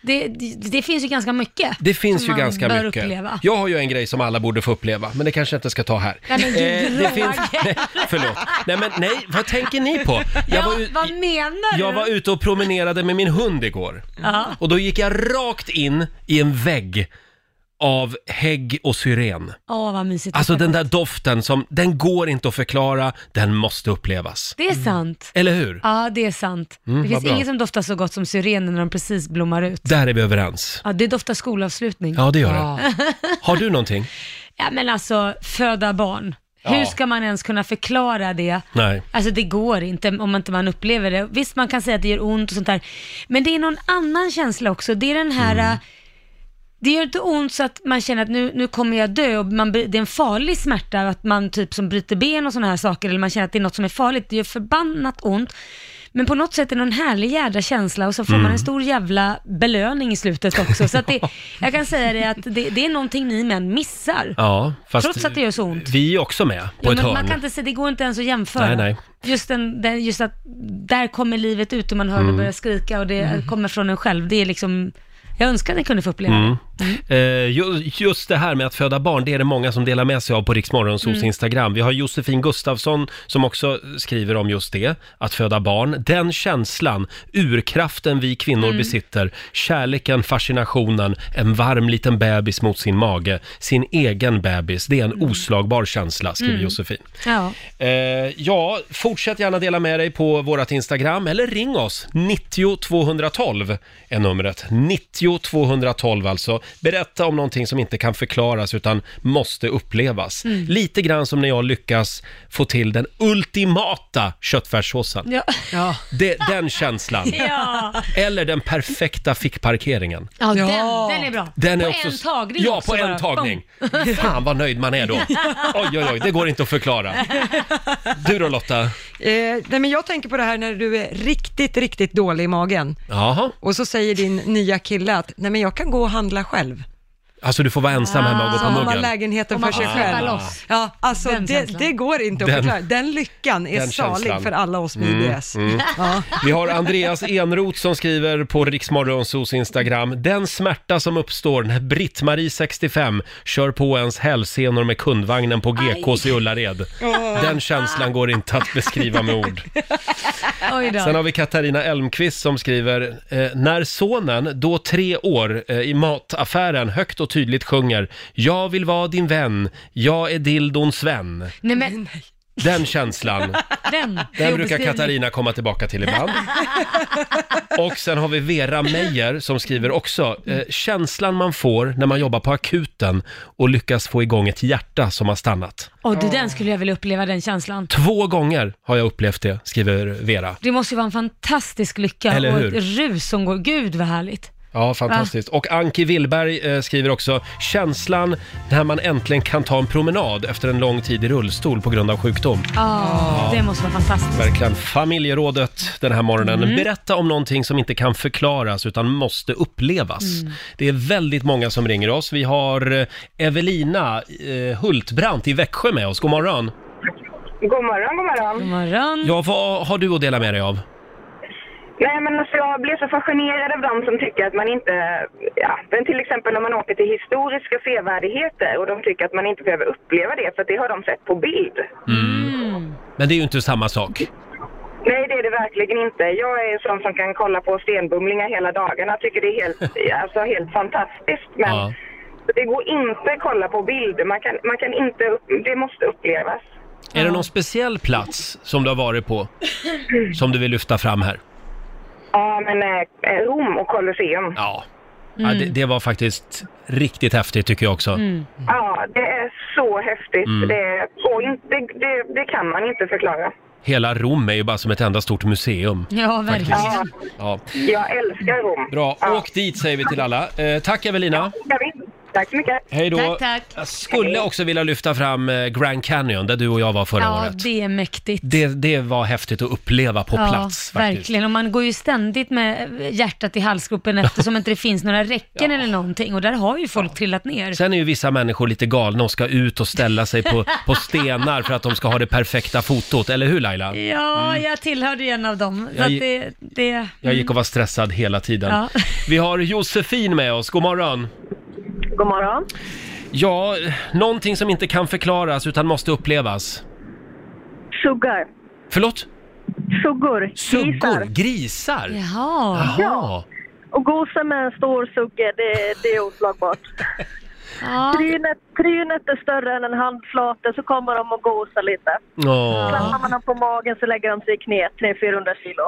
B: det, det, det finns ju ganska mycket.
A: Det finns
B: som
A: ju
B: man
A: ganska
B: bör
A: mycket.
B: Uppleva.
A: Jag har ju en grej som alla borde få uppleva, men det kanske jag inte ska ta här.
B: Nej, men du
A: Eh, det
B: drog.
A: finns... nej, förlåt. Nej, men nej, vad tänker ni på? Jag var, ju,
B: Vad menar
A: jag
B: du?
A: var ute och promenerade med min hund igår.
B: Ja.
A: Och då gick jag rakt in i en vägg av hägg och syren.
B: Åh, vad mysigt.
A: Alltså den där doften som, den går inte att förklara, den måste upplevas.
B: Det är sant.
A: Eller hur?
B: Ja, det är sant.
A: Mm,
B: det
A: vad
B: finns
A: bra.
B: inget som doftar så gott som syrener när de precis blommar ut.
A: Där är vi överens.
B: Ja, det doftar skolavslutning.
A: Ja, det gör det. Har du någonting?
B: ja, men alltså, föda barn.
A: Ja.
B: Hur ska man ens kunna förklara det?
A: Nej.
B: Alltså det går inte om inte man upplever det. Visst, man kan säga att det gör ont och sånt där. Men det är någon annan känsla också. Det är den här...
A: Mm.
B: äh, Det gör inte ont så att man känner att nu, nu kommer jag dö och man, blir- det är en farlig smärta, att man typ som bryter ben och sådana här saker, eller man känner att det är något som är farligt. Det gör förbannat ont. Men på något sätt är det någon härlig jädra känsla och så får
L: Mm.
B: man en stor jävla belöning i slutet också. Så att det, jag kan säga det att det, det är någonting ni män missar.
A: Ja, fast
B: Trots att det gör så ont.
A: vi är också med på
B: Jo,
A: ett
B: men
A: hörn.
B: man kan inte säga, det går inte ens att jämföra.
A: Nej, nej.
B: Just, den, den, just att där kommer livet ut och man hör
A: Mm.
B: det börja skrika och det kommer från en själv. Det är liksom, jag önskar att ni kunde få uppleva
A: Mm.
B: det.
A: Eh, ju- Just det här med att föda barn, det är det många som delar med sig av på Riksmorgonsos
B: Mm.
A: Instagram. Vi har Josefin Gustafsson som också skriver om just det, att föda barn. Den känslan, urkraften vi kvinnor
I: Mm.
A: besitter, kärleken, fascinationen, en varm liten bebis mot sin mage, sin egen bebis, det är en oslagbar känsla, skriver
B: Mm.
A: Josefin.
B: Ja.
A: Eh, ja, fortsätt gärna dela med dig på vårt Instagram eller ring oss. 90 212 är numret. 90 212 alltså. Berätta om någonting som inte kan förklaras utan måste upplevas.
B: Mm.
A: Lite grann som när jag lyckas få till den ultimata köttfärssåsen.
B: Ja. Ja.
A: Det, den känslan.
B: Ja.
A: Eller den perfekta fickparkeringen.
B: Den, den är bra.
A: Den är
B: på
A: också,
B: en tagning
A: Ja,
B: också
A: på en
B: bara.
A: tagning.
B: Boom.
A: Fan vad nöjd man är då. Oj, oj, oj, det går inte att förklara. Du då Lotta?
C: Eh, nej, men jag tänker på det här när du är riktigt, riktigt dålig i magen.
A: Jaha.
C: Och så säger din nya kille att, nej men jag kan gå och handla själv.
A: Alltså du får vara ensam hemma och gå
C: Så
A: på
C: har Ah. man
A: muggen.
C: lägenheten
B: Om man
C: för sig
A: får
C: själv.
A: släppa loss.
C: Ja, alltså
B: Den
C: det,
B: känslan.
C: det går inte att
A: Den-
C: förklara. Den lyckan är
A: Den
C: salig
A: känslan.
C: för alla oss med
A: Mm,
C: IBS.
A: mm.
C: Ja.
A: Vi har Andreas Enroth som skriver på Riksmorgonsos Instagram. Den smärta som uppstår när Britt-Marie, 65, kör på ens hälsenor med kundvagnen på GKs i Ullared.
B: Åh.
A: Den känslan går inte att beskriva med ord.
B: Oj då.
A: Sen har vi Katarina Elmqvist som skriver, eh, när sonen, då tre år, eh, i mataffären högt och tydligt sjunger “Jag vill vara din vän, jag är dildon Sven”.
B: Nej men,
A: Den känslan,
B: den.
A: den brukar Katarina komma tillbaka till ibland. Och sen har vi Vera Meijer som skriver också, eh, känslan man får när man jobbar på akuten och lyckas få igång ett hjärta som har stannat.
B: Och du, den skulle jag vilja uppleva, den känslan.
A: Två gånger har jag upplevt det, skriver Vera.
B: Det måste ju vara en fantastisk lycka
A: Eller
B: och
A: hur?
B: ett rus som går. Gud vad härligt.
A: Ja, fantastiskt. Och Anki Willberg eh, skriver också, känslan när man äntligen kan ta en promenad efter en lång tid i rullstol på grund av sjukdom.
B: Ja,
A: Ja.
B: det måste vara fantastiskt.
A: Verkligen. Familjerådet den här morgonen.
B: Mm.
A: Berätta om någonting som inte kan förklaras utan måste upplevas.
B: Mm.
A: Det är väldigt många som ringer oss. Vi har eh, Evelina eh, Hultbrant i Växjö med oss. God morgon.
M: God morgon, god morgon.
B: God morgon.
A: Ja, vad har du att dela med dig av?
L: Nej, men alltså, jag blir så fascinerad av de som tycker att man inte... Ja, men till exempel när man åker till historiska sevärdheter och de tycker att man inte behöver uppleva det för att det har de sett på bild.
A: Mm.
B: Mm.
A: Men det är ju inte samma sak.
L: Nej, det är det verkligen inte. Jag är en sån som kan kolla på stenbumlingar hela dagarna. Tycker det är helt, alltså, helt fantastiskt. Men
A: Ja.
L: det går inte att kolla på bild. Man kan, man kan inte... upp- Det måste upplevas.
A: Är det någon speciell plats som du har varit på som du vill lyfta fram här?
L: Ja, men eh, Rom och Colosseum.
A: Ja. Ja,
B: Mm.
A: det, det var faktiskt riktigt häftigt tycker jag också.
L: Ja, det är så häftigt.
A: Mm.
L: Det, går inte, det, det kan man inte förklara.
A: Hela Rom är ju bara som ett enda stort museum.
B: Ja, verkligen.
L: Ja,
A: Ja.
L: jag älskar Rom.
A: Bra, åk dit säger vi till alla. Eh, tack Evelina!
L: Jag vill. Tack så mycket.
A: Hej då.
B: Tack, tack.
A: Jag skulle också vilja lyfta fram eh, Grand Canyon där du och jag var förra
B: ja,
A: året.
B: det är mäktigt.
A: Det, det var häftigt att uppleva på
B: ja,
A: plats faktiskt.
B: verkligen. Och man går ju ständigt med hjärtat i halsgropen eftersom inte det finns några räcken eller någonting. Och där har ju folk trillat ner.
A: Sen är ju vissa människor lite galna och ska ut och ställa sig på, på stenar för att de ska ha det perfekta fotot, eller hur Laila?
B: Ja, Mm. jag tillhörde ju en av dem. Så
A: Mm. Jag
B: att
A: gi-
B: det, det...
A: Jag gick och var stressad hela tiden.
B: Ja.
A: Vi har Josefin med oss, god morgon.
M: God morgon.
A: Ja, någonting som inte kan förklaras utan måste upplevas.
M: Sugar.
A: Förlåt?
M: Suggor.
A: Suggor?
M: Grisar.
A: Grisar?
B: Jaha.
A: Jaha.
M: Och gosa med en stor sugge, det, det är oslagbart. Trynet, trynet är större än en handflata så kommer de och gosar lite. Klappar
A: Ja.
M: man dem på magen så lägger de sig i knät 300-400 kilo.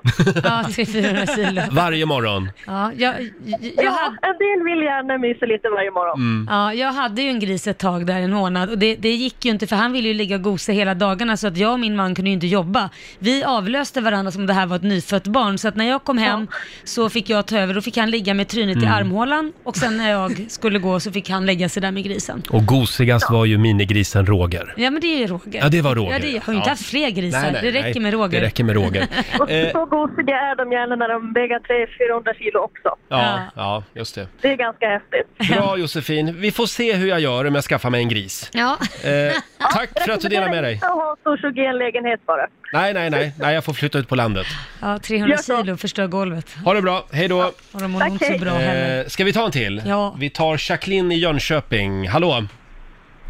B: Ja, 300 kilo.
A: Varje morgon.
B: Ja, jag, jag, jag
M: Ja, en del vill gärna mysa lite varje morgon.
A: Mm.
B: Ja, jag hade ju en gris ett tag där, en månad, och det, det gick ju inte för han ville ju ligga och gosa hela dagarna så att jag och min man kunde ju inte jobba. Vi avlöste varandra som om det här var ett nyfött barn, så att när jag kom hem så fick jag ta över, då fick han ligga med trynet i
A: Mm.
B: armhålan och sen när jag skulle gå så fick han lägga sig där med grisen.
A: Och gosigast var ju minigrisen Roger.
B: Ja men det är ju Roger.
A: Ja, det var Roger.
B: Ja, det, jag har ju inte
A: Ja.
B: haft fler grisar,
A: Nej, nej,
B: det räcker
A: nej.
B: med Roger.
A: Det räcker med Roger.
M: Och
A: Eh.
M: så gosiga är de gärna när de väger 300-400 kilo också.
A: Ja, ja, just det.
M: Det är ganska häftigt.
A: Bra Josefin, vi får se hur jag gör om jag skaffar mig en gris.
B: Ja.
A: Eh, tack för att du delar med dig.
M: Jag har stor sugge i en lägenhet bara.
A: Nej, nej, nej, nej, jag får flytta ut på landet.
B: Ja, 300 kilo förstör golvet.
A: Ha det bra, hej då.
B: Och de mår nog inte så bra heller.
A: Eh, ska vi ta en till?
B: Ja.
A: Vi tar Jacqueline i Jönköping. Hallå!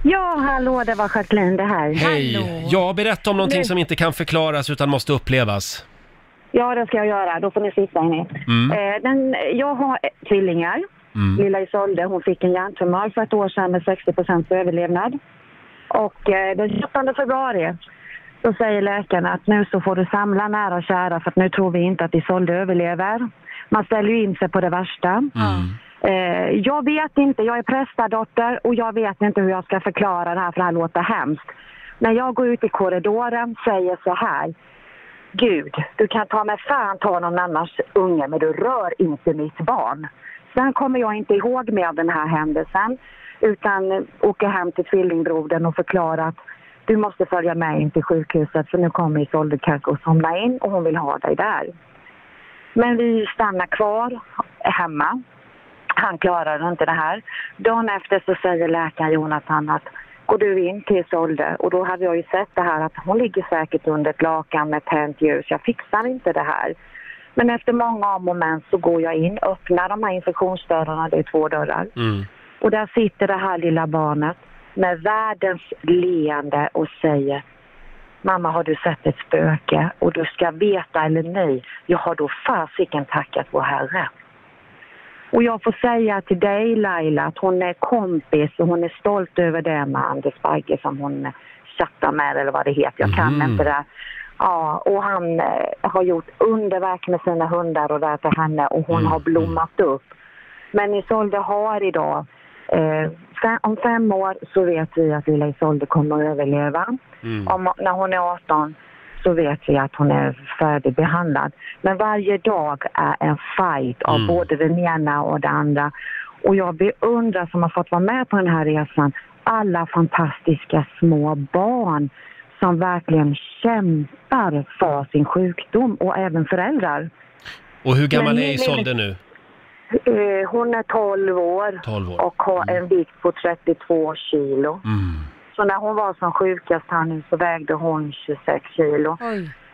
N: Ja, hallå, det var Jacqueline det här.
A: Hej! Ja, berätta om någonting som inte kan förklaras utan måste upplevas.
N: Ja, det ska jag göra. Då får ni sitta hörni.
A: Mm.
N: Eh, den, jag har eh, tvillingar.
A: Mm.
N: Lilla Isolde, hon fick en hjärntumör för ett år sedan med 60 överlevnad. Och eh, den 28 februari så säger läkaren att nu så får du samla nära och kära för att nu tror vi inte att Isolde överlever. Man ställer ju in sig på det värsta.
A: Mm.
N: Eh, jag vet inte, jag är prästadotter och jag vet inte hur jag ska förklara det här för det här låter hemskt. När jag går ut i korridoren säger så här. Gud, du kan ta mig fan ta någon annans unge men du rör inte mitt barn. Sen kommer jag inte ihåg med den här händelsen utan eh, åker hem till tvillingbrodern och förklarar att du måste följa med in till sjukhuset för nu kommer Isolde kanske att somna in och hon vill ha dig där. Men vi stannar kvar hemma. Han klarade inte det här. Dagen efter så säger läkaren Jonathan att går du in till Isolde och då hade jag ju sett det här att hon ligger säkert under ett lakan med tänt ljus. Jag fixar inte det här. Men efter många om och men så går jag in, öppnar de här infektionsdörrarna, det är två dörrar.
A: Mm.
N: Och där sitter det här lilla barnet med världens leende och säger Mamma, har du sett ett spöke? Och du ska veta eller nej, jag har då fasiken tackat vår Herre. Och jag får säga till dig Laila att hon är kompis och hon är stolt över det med Anders Bagge som hon chattar med eller vad det heter. Jag kan
O: Mhm.
N: inte det. Ja, och han eh, har gjort underverk med sina hundar och där till henne och hon har blommat upp. Men Isolde har idag, eh, fem, om fem år så vet vi att lilla Isolde kommer att överleva. Om, när hon är 18 så vet vi att hon är färdigbehandlad. Men varje dag är en fight av
P: Mm.
N: både den ena och det andra. Och jag beundrar som har fått vara med på den här resan alla fantastiska små barn som verkligen kämpar för sin sjukdom och även föräldrar.
A: Och hur gammal
N: Men
A: är
N: nu-
A: Isolde nu?
N: Eh, Hon är 12 år,
A: 12 år.
N: och har en vikt på 32 kilo.
A: Mm.
N: Så när hon var som sjukast här nu så vägde hon 26 kilo.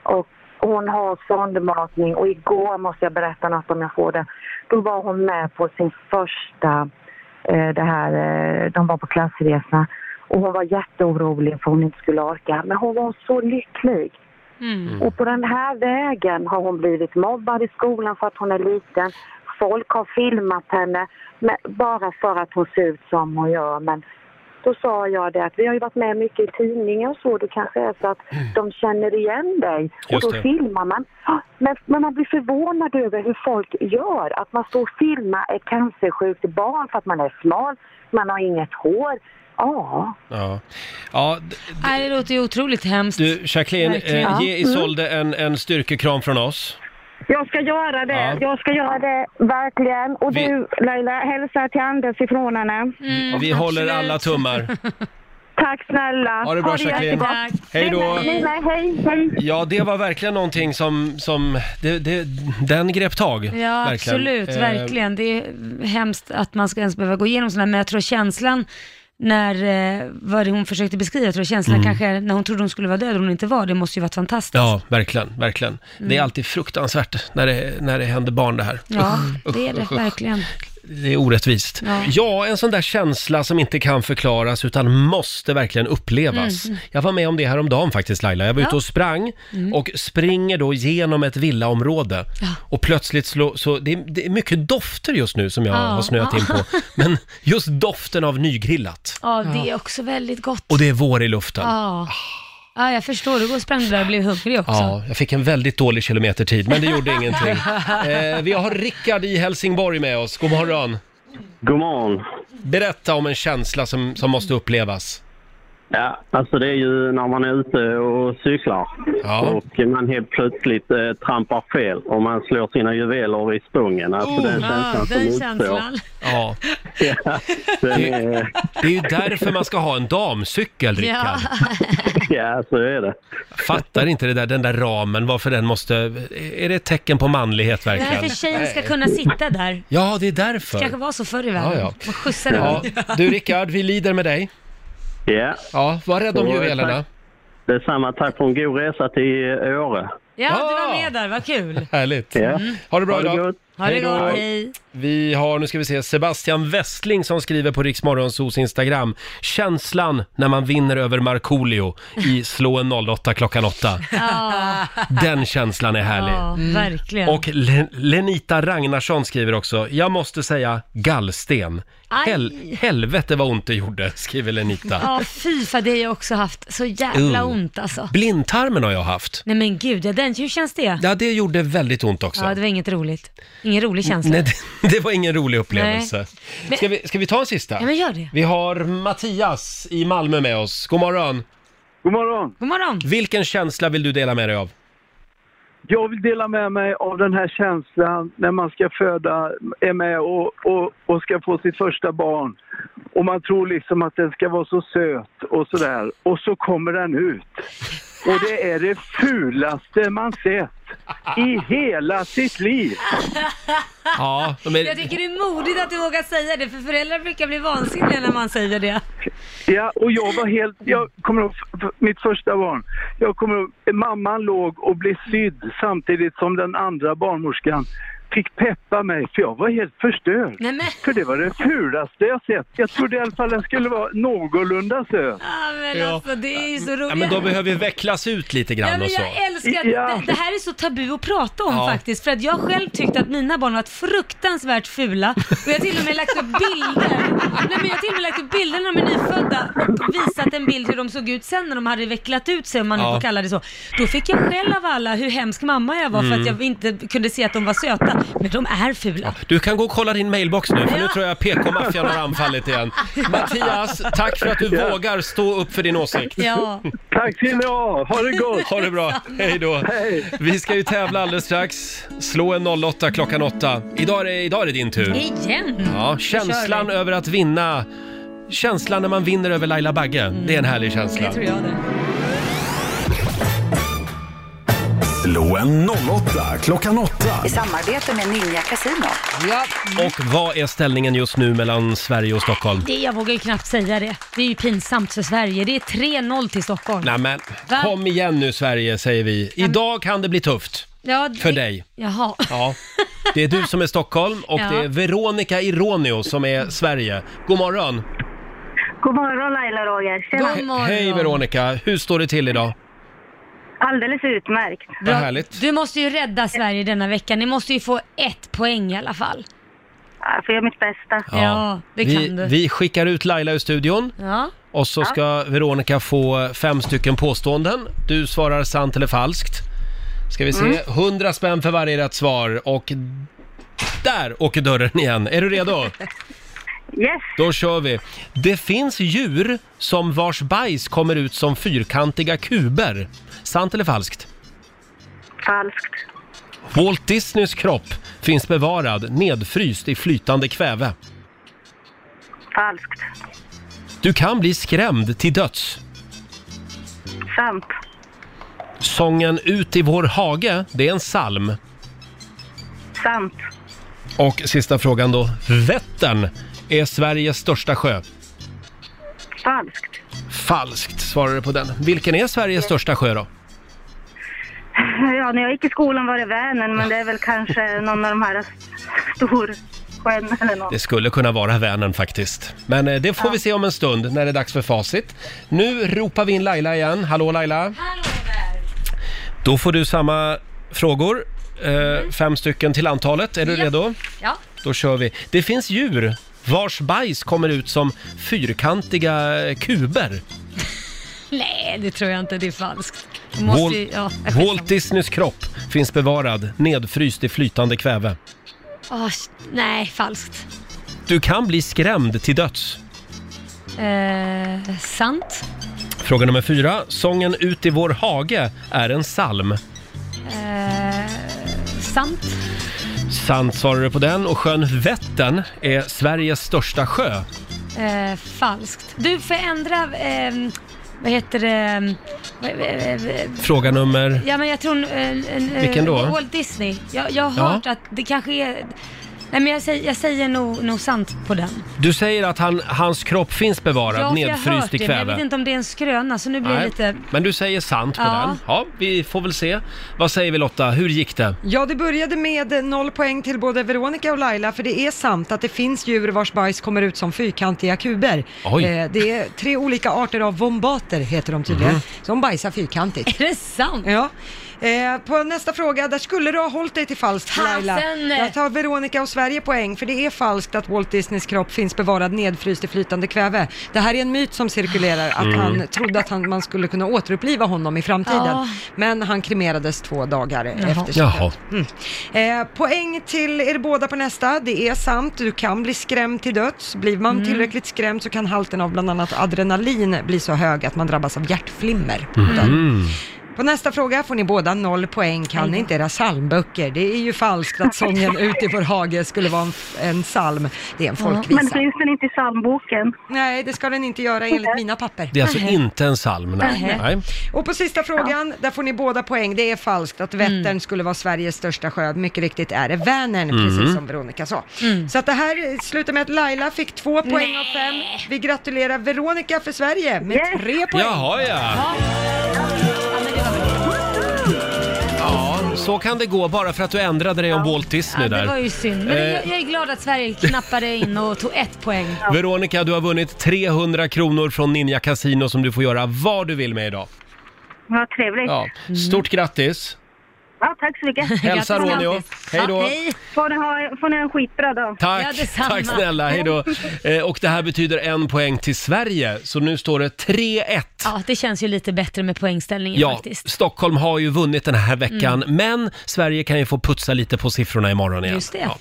N: Och, Hon har sondmatning och igår måste jag berätta något om jag får det. Då var hon med på sin första, eh, det här, eh, de var på klassresa och hon var jätteorolig för hon inte skulle orka. Men hon var så lycklig. Mm.
O: Mm.
N: Och på den här vägen har hon blivit mobbad i skolan för att hon är liten. Folk har filmat henne men bara för att hon ser ut som hon gör. Men då sa jag det att vi har ju varit med mycket i tidningar och så. Det kanske är så att de känner igen dig. Och
O: Just
N: då
O: det.
N: filmar man. Ah, Men, men man blir förvånad över hur folk gör. Att man står och filmar ett cancersjukt barn för att man är smal, man har inget hår. Ja.
A: Ja. ja d-
B: Nej, det låter ju otroligt hemskt.
A: du, Jacqueline,
B: Verkligen.
A: eh,
B: Ja. Mm.
A: ge Isolde en, en styrkekram från oss.
O: Jag ska göra det.
A: Ja.
O: Jag ska göra det, verkligen. Och
A: Vi-
O: du, Laila, hälsa till Anders ifrån henne.
D: Mm.
B: Mm.
A: Vi håller alla tummar.
O: Tack snälla.
A: Ha det bra,
O: det
A: Jacqueline.
O: jättebra.
A: Tack. Mm. Hej då.
O: Nej, nej, nej, hej, hej.
A: Ja, det var verkligen någonting som, som det, det, den grep tag.
B: Ja,
A: verkligen.
B: absolut,
A: Eh,
B: verkligen. Det är hemskt att man ska ens behöva gå igenom sådana, men jag tror känslan när, eh, vad det hon försökte beskriva, jag tror känslan
A: Mm.
B: kanske när hon trodde hon skulle vara död och hon inte var, det måste ju varit fantastiskt.
A: Ja, verkligen, verkligen.
B: Mm.
A: Det är alltid fruktansvärt när det, när det händer barn det här.
B: Ja,
A: Usch,
B: det är
A: usch,
B: det
A: usch.
B: verkligen.
A: Det är orättvist. Ja.
B: Ja.
A: en sån där känsla som inte kan förklaras utan måste verkligen upplevas.
B: Mm.
A: Jag var med om det här om dagen faktiskt Laila. Jag var ute
B: Ja.
A: och sprang
B: Mm.
A: och springer då genom ett villaområde.
B: Ja.
A: Och plötsligt slå, så, det, är- det är mycket dofter just nu som jag
B: Ja.
A: har snöat in på.
B: Ja.
A: Men just doften av nygrillat.
B: Ja, det är också väldigt gott.
A: Och det är vår i luften.
B: Ja. ja, jag förstår. Du går och sprang där och blev hungrig också.
A: Ja, jag fick en väldigt dålig kilometertid, men det gjorde ingenting. Eh, vi har Rickard i Helsingborg med oss. God morgon.
P: God morgon.
A: Berätta om en känsla som, som måste upplevas.
P: Ja, alltså det är ju när man är ute och cyklar och man helt plötsligt eh, trampar fel och man slår sina juveler i spången.
D: Oh,
P: Alltså den känslan som uppstår.
A: Ja.
P: Ja, den är...
A: Det är ju därför man ska ha en damcykel, Rickard.
P: Ja, så är det.
A: Fattar inte det där, den där ramen, varför den måste... Är det ett tecken på manlighet
B: Det här
A: verkligen?
B: för tjejen ska
A: Nej.
B: kunna sitta där.
A: Ja, det är
B: Det
A: därför.
B: kanske var så förr i världen.
A: Ja, ja.
B: Man skjutsade
A: Ja.
B: varandra.
A: Du Rickard, vi lider med dig.
P: Ja.
A: Ja, var rädd om
P: Så, eh,
A: juvelerna.
P: tack. Detsamma, tack för en god resa till eh, Åre.
B: Ja, du var med där, vad kul.
A: Härligt.
P: Ja.
A: Ha det bra
P: Ha det
A: idag.
P: gott.
B: Ha det
A: Hej då.
B: gott, hej.
A: Vi har, nu ska vi se, Sebastian Westling som skriver på Riksmorgonsos Instagram. Känslan när man vinner över Markoolio i Slå en 08 klockan 8.
B: Ja,
A: Den känslan är härlig.
B: ja verkligen.
A: Och Le- Lenita Ragnarsson skriver också, jag måste säga gallsten.
B: Aj.
A: Hel- helvete vad ont det gjorde, skriver Lenita.
B: Ja, fy fan, det har jag också haft. Så jävla
A: Uh.
B: ont alltså.
A: Blindtarmen har jag haft.
B: Nej men gud, ja, den, hur känns det?
A: Ja, det gjorde väldigt ont också.
B: Ja, det var inget roligt. Ingen rolig känsla.
A: Nej, det, det var ingen rolig upplevelse.
B: Men-
A: Ska vi, ska vi ta en sista?
B: Ja, men gör det.
A: Vi har Mattias i Malmö med oss. God morgon!
Q: God morgon!
B: God morgon!
A: Vilken känsla vill du dela med dig av?
Q: Jag vill dela med mig av den här känslan när man ska föda, är med och, och, och ska få sitt första barn. Och man tror liksom att den ska vara så söt och sådär. Och så kommer den ut. Och det är det fulaste man sett i hela sitt liv.
A: Ja,
B: Jag tycker det är modigt att du vågar säga det, för föräldrar brukar bli vansinniga när man säger det.
Q: Ja, och jag var helt... Jag kommer ihåg f- f- mitt första barn. Jag kommer ihåg, mamman låg och blev sydd samtidigt som den andra barnmorskan fick peppa mig för jag var helt förstörd. För det var det fulaste jag sett. Jag trodde i alla fall den skulle vara någorlunda söt.
B: Ja, men
A: Ja.
B: alltså det är ju så roligt.
A: Ja, men de behöver ju vecklas ut lite
B: Mm. Ja,
A: grann
B: men
A: och så.
B: jag älskar att
A: Ja.
B: det, det här är så tabu att prata om
A: alltså. Ja.
B: faktiskt. För att jag själv tyckte att mina barn var fruktansvärt fula. Och jag har till och med lagt upp bilder. Nej, men jag har till och med lagt upp bilder när de är nyfödda och visat en bild hur de såg ut sen när de hade vecklat ut sig, om man nu
O: Ja.
B: får kalla det så. Då fick jag skäll av alla hur hemsk mamma jag var för att
A: Mm.
B: jag inte kunde se att de var söta. Men de är fula.
A: Du kan gå och kolla din mailbox nu, för nu tror jag PK-maffian har anfallit igen. Mattias, tack för att du
B: Ja.
A: vågar stå upp för din åsikt.
B: Ja.
Q: Tack till er! Ha det gott!
A: Ha det bra, hej då! Vi ska ju tävla alldeles strax. Slå en 08 klockan 8. Idag är det, idag är det din tur.
B: Igen?
A: Ja, känslan över att vinna. Känslan när man vinner över Laila Bagge.
B: Mm.
A: Det är en härlig känsla.
B: Det tror jag det.
D: Slå en 08 klockan 8.
R: I samarbete med Ninja Casino.
B: Ja.
A: Och vad är ställningen just nu mellan Sverige och Stockholm?
B: Det, jag vågar ju knappt säga det. Det är ju pinsamt för Sverige. Det är 3-0 till Stockholm.
A: Nej men,
B: Va?
A: kom igen nu Sverige säger vi. Idag kan det bli tufft.
B: Ja, det-
A: För dig.
B: Jaha.
A: Ja. Det är du som är Stockholm och
O: Ja.
A: det är Veronica Ironio som är Sverige. God morgon!
O: God morgon Laila Roger. Tjena.
A: Hej Veronica! Hur står det till idag?
B: Alldeles utmärkt.
A: Vad härligt.
B: Du måste ju rädda Sverige denna vecka. Ni måste ju få ett poäng i alla fall. Jag får göra mitt bästa. Ja, det
A: vi,
B: kan du.
A: vi skickar ut Laila ur studion
B: Ja.
A: och så ska Veronica få fem stycken påståenden. Du svarar sant eller falskt. Ska vi se,
B: Mm.
A: 100 spänn för varje rätt svar och där åker dörren igen. Är du redo?
O: Yes.
A: Då kör vi. Det finns djur som vars bajs kommer ut som fyrkantiga kuber. Sant eller falskt?
O: Falskt.
A: Walt Disneys kropp finns bevarad nedfryst i flytande kväve.
O: Falskt.
A: Du kan bli skrämd till döds.
O: Sant.
A: Sången Ut i vår hage, det är en psalm.
O: Sant.
A: Och sista frågan då. Vättern är Sveriges största sjö.
O: Falskt.
A: Falskt svarar du på den. Vilken är Sveriges största sjö då?
O: Ja, när jag gick i skolan var det Vänern, men det är väl kanske någon av de här storsjön eller något.
A: Det skulle kunna vara Vänern faktiskt. Men eh, det får vi se om en stund när det är dags för facit. Nu ropar vi in Laila igen. Hallå Laila! Hallå där! Då får du samma frågor. Eh, Fem stycken till antalet. Är du
B: Mm. Ja.
A: redo?
B: Ja.
A: Då kör vi. Det finns djur vars bajs kommer ut som fyrkantiga eh, kuber.
B: Nej, det tror jag inte. Det är falskt. Du Måste,
A: Wal-
B: ju- ja, jag skiter
A: Walt Disneys kropp finns bevarad, nedfryst i flytande kväve.
B: Åh, sh- nej, falskt.
A: Du kan bli skrämd till döds.
B: Eh, sant.
A: Fråga nummer fyra. Sången Ut i vår hage är en psalm.
B: Eh, sant.
A: Sant svarar du på den och sjön Vättern är Sveriges största sjö.
B: Eh, falskt. Du, förändra... ehm, vad heter det? Vad- vad- vad-
A: Fråga nummer...
B: Ja, men jag tror... En, en, eh,
A: Vilken då?
B: Walt Disney. Jag, jag har
A: Ja.
B: hört att det kanske är... Nej, men jag säger, jag säger nog, nog sant på den.
A: Du säger att han, hans kropp finns bevarad,
B: Ja, för jag har hört
A: nedfryst i
B: det, men jag vet
A: kväve.
B: inte om det är en skröna, så nu blir jag
A: Nej,
B: lite...
A: Men du säger sant på
B: Ja.
A: den. Ja, vi får väl se. Vad säger vi Lotta, hur gick det?
C: Ja, det började med noll poäng till både Veronica och Laila, för det är sant att det finns djur vars bajs kommer ut som fyrkantiga kuber.
A: Oj.
C: Eh, det är tre olika arter av vombater, heter de tydligen,
A: Mhm.
C: som bajsar fyrkantigt.
B: Är det sant?
C: Ja. Eh, på nästa fråga, där skulle du ha hållit dig till falskt Laila.
B: Fasen!
C: Jag tar Veronica och Sverige poäng, för det är falskt att Walt Disneys kropp finns bevarad nedfryst i flytande kväve. Det här är en myt som cirkulerar, att
S: Mm.
C: han trodde att han, man skulle kunna återuppliva honom i framtiden.
S: Ja.
C: Men han kremerades två dagar
S: Jaha.
C: efter
S: Jaha.
C: Mm. Eh, poäng till er båda på nästa. Det är sant, du kan bli skrämd till döds. Blir man
S: Mm.
C: tillräckligt skrämd så kan halten av bland annat adrenalin bli så hög att man drabbas av hjärtflimmer.
S: Mm.
C: På nästa fråga får ni båda noll poäng. Kan ni inte era psalmböcker? Det är ju falskt att sången Ut i vår hage skulle vara en, en psalm. Det är en folkvisa.
O: Men finns den inte i psalmboken?
C: Nej, det ska den inte göra enligt mina papper.
A: Det är alltså inte en psalm. Nej.
C: Nej.
A: Nej.
C: Och på sista frågan, där får ni båda poäng. Det är falskt att Vättern
B: Mm.
C: skulle vara Sveriges största sjö. Mycket riktigt är det Vänern,
S: Mm.
A: Mhm.
C: precis som Veronica sa.
B: Mm.
C: Så att det här slutar med att Laila fick två poäng av fem. Vi gratulerar Veronica för Sverige med tre poäng.
A: Jaha ja. Ja, så kan det gå bara för att du ändrade dig om Walt
B: Ja,
A: Disney där.
B: det var ju synd. Men
A: Eh,
B: jag, jag är glad att Sverige knappade in och tog ett poäng.
A: Veronica, du har vunnit 300 kronor från Ninja Casino som du får göra vad du vill med idag.
O: Vad trevligt.
A: Ja.
F: Mm.
A: Stort grattis!
O: Ja, tack så mycket.
A: Hälsa
O: Mm. Grattis,
A: Ronio.
O: grattis.
A: Hej då.
O: Ja, hej. Får ni, ha, får ni ha en skitbra dag.
A: Tack, tack snälla, hej då. Eh, Och det här betyder en poäng till Sverige, så nu står det 3-1.
B: Ja, det känns ju lite bättre med poängställningen
A: Ja,
B: faktiskt.
A: Stockholm har ju vunnit den här veckan,
B: Mm.
A: men Sverige kan ju få putsa lite på siffrorna imorgon igen.
B: Just det.
A: Ja.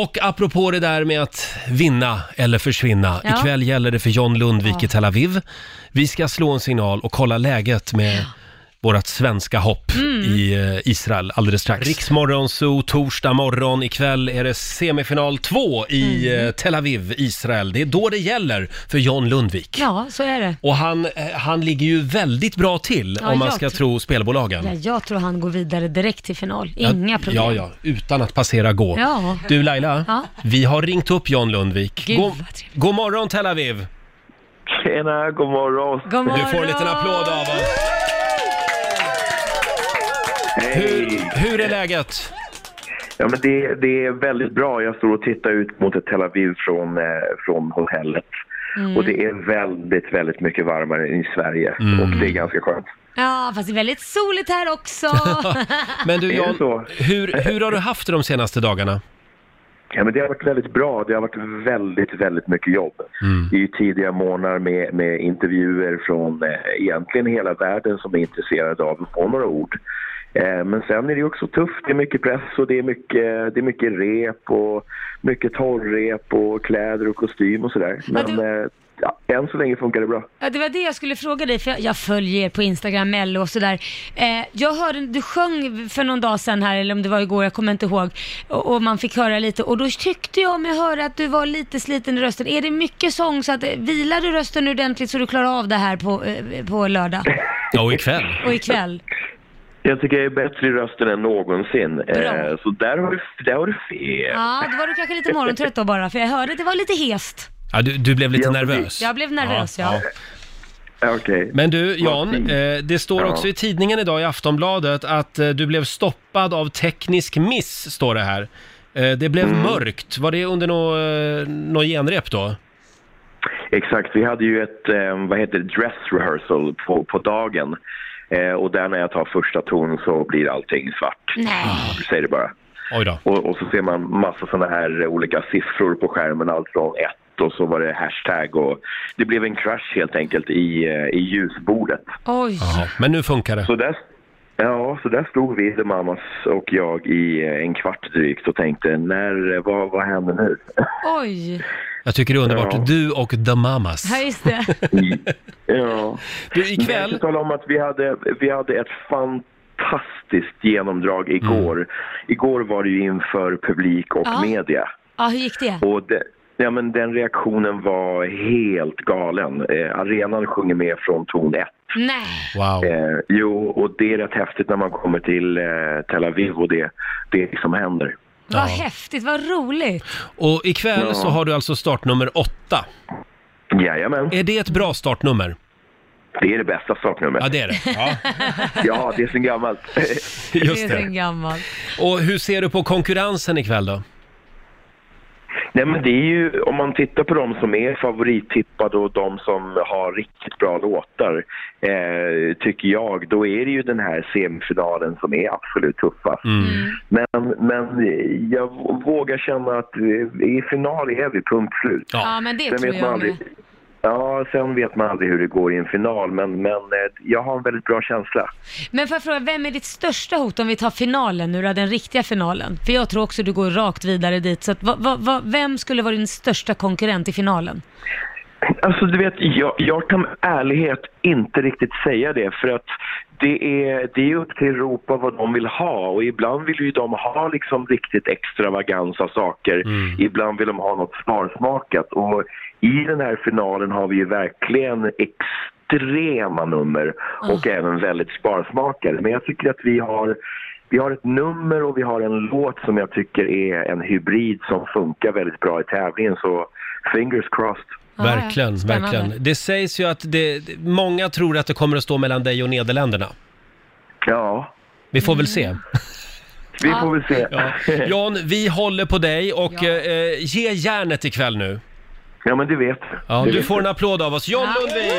A: Och apropå det där med att vinna eller försvinna,
B: Ja.
A: ikväll gäller det för John Lundvik
B: Ja.
A: i Tel Aviv. Vi ska slå en signal och kolla läget med vårt svenska hopp
B: Mm.
A: i eh, Israel alldeles strax. Riksmorgon Zoo, torsdag morgon. Ikväll är det semifinal 2 i
B: Mm.
A: eh, Tel Aviv, Israel. Det är då det gäller för John Lundvik.
B: Ja, så är det.
A: Och han, eh, han ligger ju väldigt bra till
B: Ja,
A: om man
B: jag
A: ska
B: tr-
A: tro spelbolagen.
B: Ja, jag tror han går vidare direkt till final. Inga
A: ja,
B: problem.
A: Ja, ja, utan att passera gå.
B: Ja.
A: Du Laila,
B: Ja.
A: vi har ringt upp John Lundvik.
B: Gud,
A: god, god morgon Tel Aviv!
S: Tjena, god morgon.
B: God morgon.
A: Du får en liten applåd av oss. Hur, hur är läget?
S: Ja, men det, det är väldigt bra. Jag står och tittar ut mot Tel Aviv från, eh, från hotellet. Och det är väldigt, väldigt mycket varmare än i Sverige.
E: Mm.
S: Och det är ganska skönt.
B: Ja, fast det är väldigt soligt här också.
A: Men du
S: Är det
A: John,
S: så?
A: hur, hur har du haft det de senaste dagarna?
S: Ja, men det har varit väldigt bra. Det har varit väldigt, väldigt mycket jobb. Det
A: Mm.
S: är ju tidiga månader med, med intervjuer från eh, egentligen hela världen som är intresserade av att få några ord. Eh, men sen är det ju också tufft. Det är mycket press och det är mycket, det är mycket rep och mycket torrrep och kläder och kostym och sådär. Men eh, ja, än så länge funkar det bra.
B: Ja, det var det jag skulle fråga dig, för jag, jag följer er på Instagram, Mello och sådär. Eh, jag hörde, du sjöng för någon dag sedan här, eller om det var igår, jag kommer inte ihåg, och, och man fick höra lite, och då tyckte jag mig höra att du var lite sliten i rösten. Är det mycket sång, så att eh, vilar du rösten ordentligt så du klarar av det här på, eh, på lördag
A: Ja, och ikväll.
B: och ikväll?
S: Jag tycker jag är bättre i rösten än någonsin. Eh, så där har du, där har du fel.
B: Ja, då var du kanske lite morgontrött då bara, för jag hörde att det var lite hest.
A: Ja, du, du blev lite nervös.
B: Jag blev nervös, ja.
A: Men du Jan, eh, det står
S: Ja.
A: också i tidningen idag i Aftonbladet att eh, du blev stoppad av teknisk miss, står det här. Eh, det blev
S: Mm.
A: mörkt, var det under något eh, nå genrep då?
S: Exakt, vi hade ju ett eh, vad heter det, dress rehearsal på, på dagen. Eh, och där när jag tar första ton så blir allting svart. Jag Säger det bara.
A: Oj då.
S: Och, och så ser man massa sådana här eh, olika siffror på skärmen, allt från ett och så var det hashtag och det blev en crash helt enkelt i, eh, i ljusbordet.
B: Oj.
A: Men nu funkar det.
S: Så där, ja, så där stod vi, The Mamas och jag, i eh, en kvart drygt och tänkte, när, eh, vad, vad händer nu?
B: Oj.
A: Jag tycker det är underbart.
S: Ja.
A: Du och The Mamas.
B: Ja, just det.
S: Ja.
A: Du, ikväll...
S: Jag kan tala om att vi hade, vi hade ett fantastiskt genomdrag
A: Mm.
S: igår. Igår var det ju inför publik och
B: Ja.
S: media.
B: Ja, hur gick det?
S: Och det, ja, men den reaktionen var helt galen. Eh, arenan sjunger med från ton 1.
B: Nej.
A: Wow.
S: Eh, jo, och det är rätt häftigt när man kommer till eh, Tel Aviv och det, det som händer.
B: Vad häftigt, vad roligt.
A: Och ikväll
S: Ja.
A: så har du alltså startnummer åtta.
S: Jajamän.
A: Är det ett bra startnummer?
S: Det är det bästa startnumret.
A: Ja, det är det. Ja,
S: ja det är sen gammalt.
A: just
B: det är
A: det.
B: sen gammalt.
A: Och hur ser du på konkurrensen ikväll då?
S: Nej men det är ju, om man tittar på de som är favorittippade och de som har riktigt bra låtar, eh, tycker jag, då är det ju den här semifinalen som är absolut tuffast. Men, men jag vågar känna att eh, i final är vi punkt slut.
B: Ja. Ja, men det tror jag
S: man aldrig,
B: med.
S: Ja, sen vet man aldrig hur det går i en final, men, men eh, jag har en väldigt bra känsla.
B: Men får jag fråga, vem är ditt största hot om vi tar finalen nu då, den riktiga finalen? För jag tror också du går rakt vidare dit, så att, vad- vad- vad- vem skulle vara din största konkurrent i finalen?
S: Alltså du vet, jag, jag kan med ärlighet inte riktigt säga det för att det är, det är upp till Europa vad de vill ha och ibland vill ju de ha liksom riktigt extravaganta saker. Ibland vill de ha något snarsmakat och i den här finalen har vi ju verkligen extrema nummer och även väldigt sparsmakade. Men jag tycker att vi har vi har ett nummer och vi har en låt som jag tycker är en hybrid som funkar väldigt bra i tävlingen så fingers crossed.
A: Verkligen,
S: Spännande.
A: verkligen. Det sägs ju att det, många tror att det kommer att stå mellan dig och Nederländerna.
S: Ja. Mm.
A: Vi får väl se.
S: Vi får väl se.
A: Ja. Jan, vi håller på dig och eh, ge järnet ikväll nu.
S: Ja, men du vet.
A: Ja,
S: Det
A: du
S: vet
A: får
S: jag.
A: en applåd av oss. John Lundvik!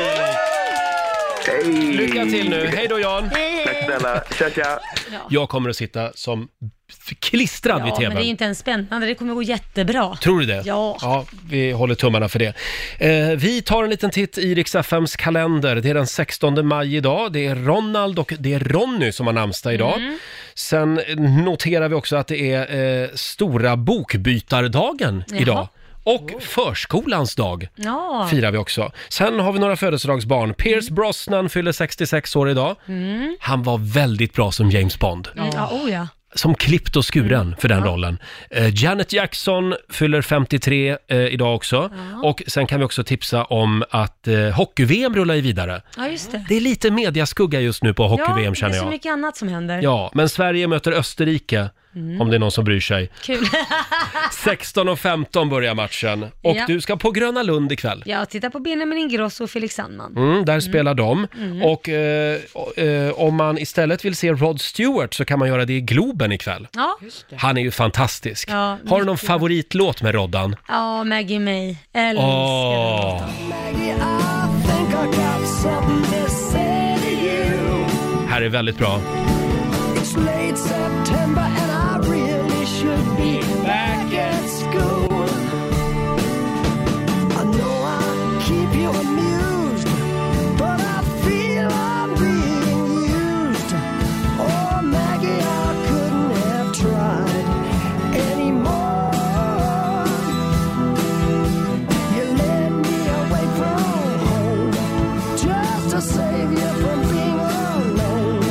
A: Lycka till nu. Hej då Jan!
S: Tack snälla. Tja, tja.
A: Jag kommer att sitta som f- klistrad vid
B: Ja, men det är ju
A: tvn.
B: inte ens spännande, det kommer gå jättebra.
A: Tror du det?
B: Ja.
A: ja. Vi håller tummarna för det. Eh, vi tar en liten titt i Rix FMs kalender. Det är den 16 maj idag. Det är Ronald och det är Ronny som har namnsdag idag.
B: Mm.
A: Sen noterar vi också att det är eh, stora bokbytardagen
B: Jaha.
A: idag. Och förskolans dag
B: Ja.
A: firar vi också. Sen har vi några födelsedagsbarn. Pierce Brosnan fyller 66 år idag.
B: Mm.
A: Han var väldigt bra som James Bond.
B: Mm. Ja, oh ja.
A: Som klippt och
B: Mm.
A: skuren för den rollen. Eh, Janet Jackson fyller 53 eh, idag också. Och sen kan vi också tipsa om att eh, hockey-VM rullar ju vidare.
B: Ja, just det.
A: Det är lite mediaskugga just nu på hockey-VM
B: Ja, det
A: känner
B: är så
A: jag.
B: mycket annat som händer.
A: Ja, men Sverige möter Österrike,
B: Mm.
A: om det är någon som bryr sig.
B: Kul.
A: 16.15 börjar matchen och
B: Ja.
A: du ska på Gröna Lund ikväll.
B: ja, titta på Benjamin Ingrosso och Felix Sandman.
A: Mm, där spelar de.
B: Mm.
A: Och eh, o- eh, om man istället vill se Rod Stewart så kan man göra det i Globen ikväll.
B: Ja.
A: Han är ju fantastisk.
B: Ja,
A: Har du
B: mycket
A: någon favoritlåt med Roddan?
B: Ja, Maggie May. Älskar
A: Åh, här är väldigt bra.
T: Oh, Just to save you from being alone.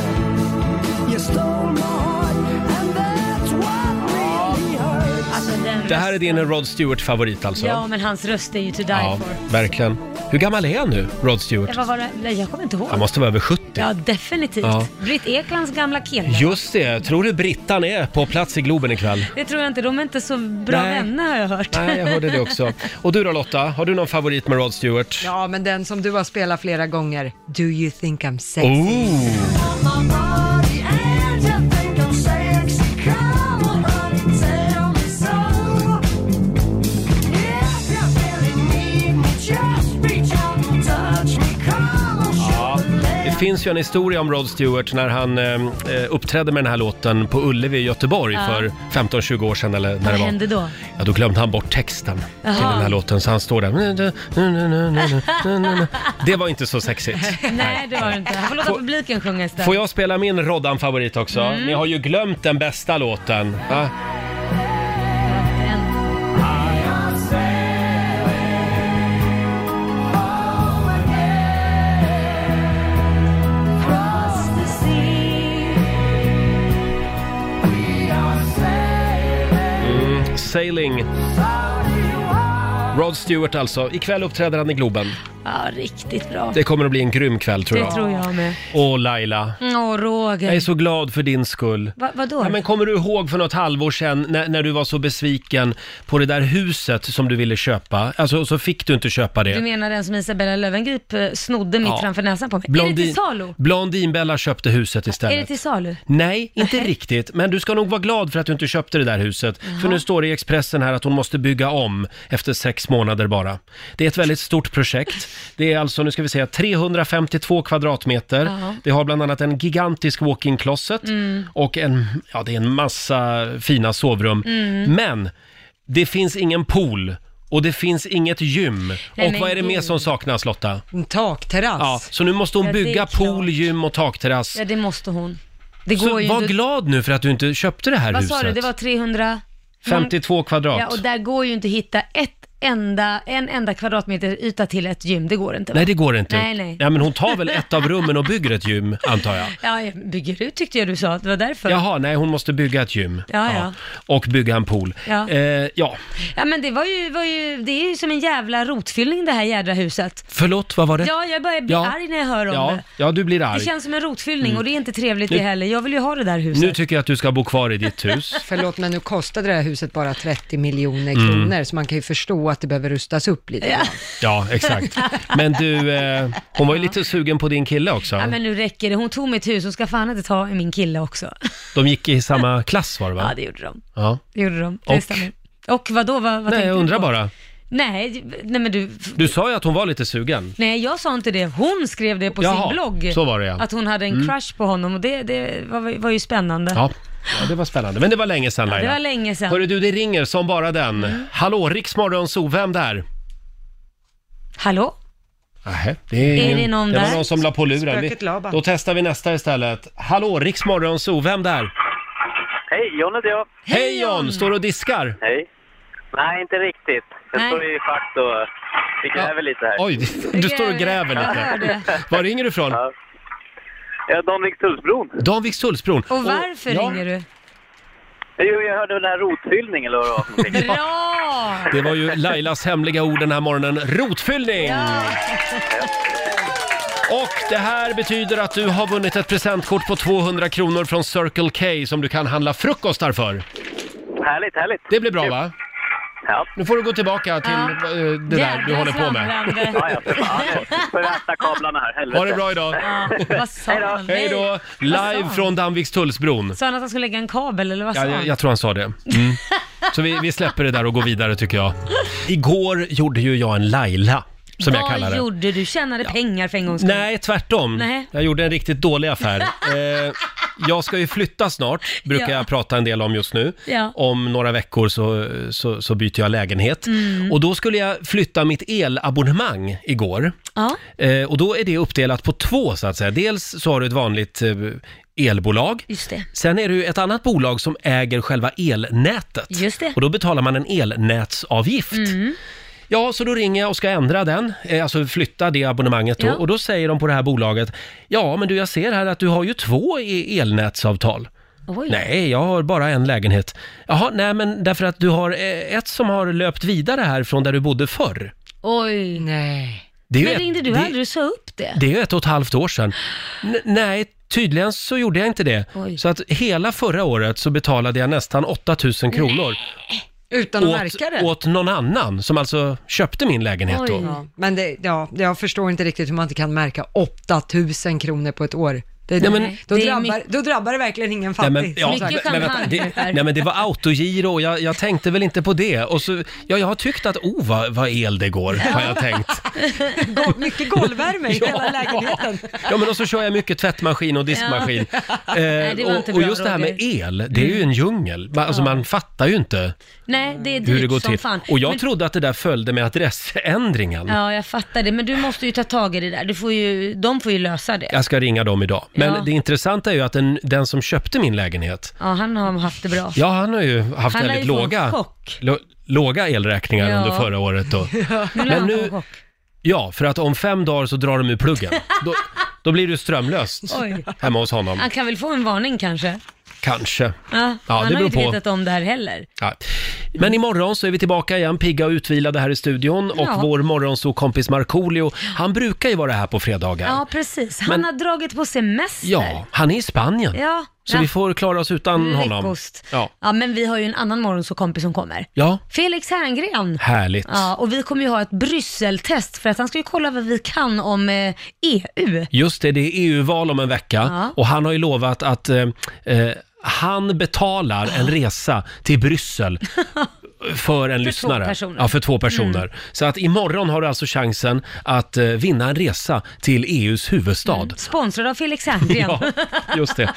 T: You stole my heart, and that's what really hurts.
B: Alltså den
A: Det här är din Rod Stewart-favorit alltså?
B: Ja, men hans röst är ju to die
A: Ja,
B: for.
A: verkligen. Hur gammal är han nu, Rod Stewart?
B: Jag, var, var, det- nej, jag kommer inte ihåg.
A: Han måste vara över 70.
B: Ja, definitivt.
A: Ja.
B: Britt Eklands gamla kille.
A: Just det, tror du Brittan är på plats i Globen ikväll?
B: Det tror jag inte. De är inte så bra
A: Nej.
B: vänner har jag hört.
A: Nej, jag hörde det också. Och du då Lotta, har du någon favorit med Rod Stewart?
C: Ja, men den som du har spelat flera gånger. Do you think I'm sexy?
A: Oh. Det finns ju en historia om Rod Stewart när han eh, eh, uppträdde med den här låten på Ullevi i Göteborg
B: Ja.
A: för 15-20 år sedan eller när
B: Vad
A: det var.
B: hände då?
A: Ja, då glömde han bort texten till
B: Jaha.
A: den här låten så han står där. Det var inte så sexigt.
B: Nej, det var det inte. Han får låta publiken sjunga istället.
A: Får jag spela min Roddan-favorit också?
B: Mm.
A: Ni har ju glömt den bästa låten. Va? Mm, sailing. Rod Stewart alltså. Ikväll uppträder han i Globen.
B: Ja, riktigt bra.
A: Det kommer att bli en grym kväll tror jag.
B: Det tror jag med.
A: Åh Laila,
B: Åh, Roger.
A: jag är så glad för din skull.
B: Va, vadå?
A: Ja, men kommer du ihåg för något halvår sedan när, när du var så besviken på det där huset som du ville köpa? Alltså så fick du inte köpa
B: Du
A: det.
B: menar den som Isabella Löwengrip eh, snodde mitt
A: Ja.
B: framför näsan på mig? Är det till salu?
A: Blondinbella köpte huset
B: Är
A: istället.
B: det till salu?
A: Nej, inte riktigt. Men du ska nog vara glad för att du inte köpte det där huset. För
B: Jaha.
A: nu står det i Expressen här att hon måste bygga om efter sex månader bara. Det är ett väldigt stort projekt. Det är alltså, nu ska vi säga, 352 kvadratmeter.
B: Jaha.
A: Det har bland annat en gigantisk walk-in closet
B: Mm.
A: och en, ja det är en massa fina sovrum.
B: Mm.
A: Men det finns ingen pool. Och det finns inget gym.
C: Nej,
A: och
C: men
A: vad är det mer
C: gud.
A: som saknas Lotta?
C: En takterrass.
A: Ja, så nu måste hon
B: Ja, det är
A: bygga pool, gym och takterrass.
B: Ja, det måste hon. Det
A: Alltså- Så
B: går ju
A: var
B: inte-
A: glad nu för att du inte köpte det här
B: Vad
A: huset.
B: sa du? Det var 300?
A: 52 kvadrat.
B: Ja, och där går ju inte att hitta ett enda, en enda kvadratmeter yta till ett gym. Det går inte. va?
A: Nej, det går inte.
B: Nej, nej.
A: Ja, men hon tar väl ett av rummen och bygger ett gym, antar jag.
B: Ja, jag bygger ut tyckte jag du sa. Det var därför.
A: Jaha, nej, hon måste bygga ett gym.
B: Ja, ja.
A: Och bygga en pool.
B: Ja.
A: Eh, ja.
B: Ja, men det var ju, var ju, det är ju som en jävla rotfyllning det här jädra huset.
A: Förlåt, vad var det?
B: Ja, jag börjar bli
A: Ja.
B: arg när jag hör om
A: ja.
B: det.
A: Ja, du blir
B: Det
A: arg.
B: känns som en rotfyllning
A: Mm.
B: och det är inte trevligt
A: Nu-
B: det heller. Jag vill ju ha det där huset.
A: Nu tycker jag att du ska bo kvar i ditt hus.
C: Förlåt, men nu kostade det här huset bara 30 miljoner
A: Mm.
C: kronor, så man kan ju förstå att det behöver rustas upp lite. grann.
A: Ja, exakt. Men du, eh, hon var ju lite sugen på din kille också.
B: Ja, men nu räcker det. Hon tog mitt hus, hon ska fan inte ta min kille också.
A: De gick i samma klass var det va?
B: Ja, det gjorde de.
A: Ja.
B: Det gjorde de. Det
A: Och?
B: stämmer. Och vadå, vad, vad
A: Nej,
B: tänkte
A: jag
B: du
A: undrar
B: på?
A: bara.
B: Nej, nej men du,
A: Du sa ju att hon var lite sugen.
B: nej jag sa inte det. Hon skrev det på
A: Jaha,
B: sin blogg.
A: så var det, ja.
B: Att hon hade en
A: Mm.
B: crush på honom och det, det var, var ju spännande.
A: Ja. ja, det var spännande. Men det var länge sedan Laila.
B: det var länge sedan. Mm.
A: Hörru du, det ringer som bara den. Hallå, Riksmorgon Zoo, vem där?
B: Hallå?
A: Nähä, det, är
B: Är det någon
A: det var
B: där?
A: någon som la på luren. Vi,
B: Spöket Laban.
A: då testar vi nästa istället. Hallå, Riksmorgon Zoo, vem där?
U: Hej, John heter jag.
A: Hej John! Står och diskar?
U: Hej. Nej, inte riktigt. Jag står i schakt och eh, vi gräver lite här.
A: Oj, du står och gräver lite. Var ringer du ifrån?
U: Ja, Danvikstullsbron.
A: Danvikstullsbron.
B: Och varför
A: ja,
B: ringer du?
U: Jo, jag hörde den här rotfyllning eller vad det var för någonting.
B: Bra!
A: Det var ju Lailas hemliga ord den här morgonen. Rotfyllning! Och det här betyder att du har vunnit ett presentkort på 200 kronor från Circle K som du kan handla frukostar för.
U: Härligt, härligt.
A: Det blir bra va?
U: Ja.
A: Nu får du gå tillbaka till
U: Ja.
A: eh, det där du
U: Jädra
A: håller på med.
U: svamlande. Ja, ja, för fan. Jag får rätta kablarna här, helvete.
A: Ha det bra idag.
B: Ja, vad sa han?
A: Hej då! Live från Danvikstullsbron.
B: Sa han att han skulle lägga en kabel eller vad sa
A: Ja,
B: han?
A: jag, jag tror han sa det. Mm. Så vi, vi släpper det där och går vidare tycker jag. Igår gjorde ju jag en Laila, som jag kallar
B: Vad
A: det.
B: gjorde du? Tjänade pengar för en gångs skull?
A: Nej, tvärtom.
B: Nej.
A: Jag gjorde en riktigt dålig affär. Eh, jag ska ju flytta snart, brukar
B: Ja.
A: jag prata en del om just nu.
B: Ja.
A: Om några veckor så, så, så byter jag lägenhet.
B: Mm.
A: Och då skulle jag flytta mitt elabonnemang igår.
B: Ja.
A: Eh, och då är det uppdelat på två så att säga. Dels så har du ett vanligt eh, elbolag.
B: Just det.
A: Sen är det ju ett annat bolag som äger själva elnätet.
B: Just det. Mm.
A: Och då betalar man en elnätsavgift. Ja, så då ringer jag och ska ändra den, eh, alltså flytta det abonnemanget då.
B: Ja.
A: Och då säger de på det här bolaget, ja men du jag ser här att du har ju två i- elnätsavtal.
B: Oj.
A: Nej, jag har bara en lägenhet. Jaha, nej men därför att du har eh, ett som har löpt vidare här från där du bodde förr.
B: Oj. Nej.
A: Det är ju
B: Men
A: ett-
B: ringde du
A: det-
B: aldrig och sa upp det?
A: Det är ju ett och ett halvt år sedan. N- nej, tydligen så gjorde jag inte det. Så att hela förra året så betalade jag nästan 8000 kronor.
C: Utan att
A: åt,
C: märka det.
A: åt någon annan som alltså köpte min lägenhet då.
C: Ja, Men det, ja, jag förstår inte riktigt hur man inte kan märka 8000 kronor på ett år. Det,
A: Nej, men-
C: då,
A: Det är
C: drabbar,
A: mycket-
C: då drabbar det verkligen ingen
A: Nej
C: fattig.
A: men, ja,
C: som sagt.
A: men- men vänta, det, nej men det var autogiro och jag, jag tänkte väl inte på det. Och så, ja, jag har tyckt att oh vad, vad el det går, har jag tänkt.
C: Gol- mycket golvvärme i hela lägenheten.
A: Ja men och så kör jag mycket tvättmaskin och diskmaskin.
B: Ja.
A: Eh,
B: Nej, det var
A: och,
B: inte
A: och
B: bra,
A: just det här med
B: Roger.
A: el, det är ju en djungel. Man, alltså
B: Ja.
A: man fattar ju inte.
B: Nej, det är dyrt
A: hur det går
B: som
A: till.
B: fan.
A: Och jag
B: Men-
A: trodde att det där följde med adressändringen.
B: Ja, jag fattar det. Men du måste ju ta tag i det där. Du får ju, de får ju lösa det.
A: Jag ska ringa dem idag. Men
B: Ja.
A: det intressanta är ju att den, den som köpte min lägenhet,
B: Ja, han har haft det bra.
A: ja han har ju haft
B: Han lär
A: väldigt
B: ju få en
A: låga,
B: chock.
A: lo, låga elräkningar
B: Ja.
A: under förra året då.
B: Nu lär
A: Men
B: han få
A: nu-
B: en chock.
A: Ja, för att om fem dagar så drar de ur pluggen. Då, då blir det strömlöst
B: Oj.
A: hemma hos honom.
B: Han kan väl få en varning kanske?
A: Kanske.
B: Ja,
A: Ja, det
B: han har
A: beror
B: ju inte
A: på.
B: vetat om det här heller.
A: Ja. Men imorgon så är vi tillbaka igen, pigga och utvilade här i studion.
B: Ja.
A: Och vår morgonsåkompis Markoolio, han brukar ju vara här på fredagar.
B: Ja, precis. Han
A: Men-
B: har dragit på semester.
A: Ja, han är i Spanien.
B: Ja,
A: Så
B: ja.
A: vi får klara oss utan honom.
B: Lyckost.
A: Ja.
B: Ja, men vi har ju en annan morgonsåkompis som kommer.
A: ja,
B: Felix Herngren.
A: härligt.
B: Ja, och vi kommer ju ha ett Brysseltest för att han ska ju kolla vad vi kan om eh, EU.
A: Just det, det är EU-val om en vecka
B: Ja.
A: och han har ju lovat att eh, eh, han betalar en resa till Bryssel för en lyssnare.
B: personer.
A: Ja, för två personer.
B: Mm.
A: Så att imorgon har du alltså chansen att eh, vinna en resa till EUs huvudstad.
B: Mm. Sponsrad av Felix Herngren.
A: Ja, just det.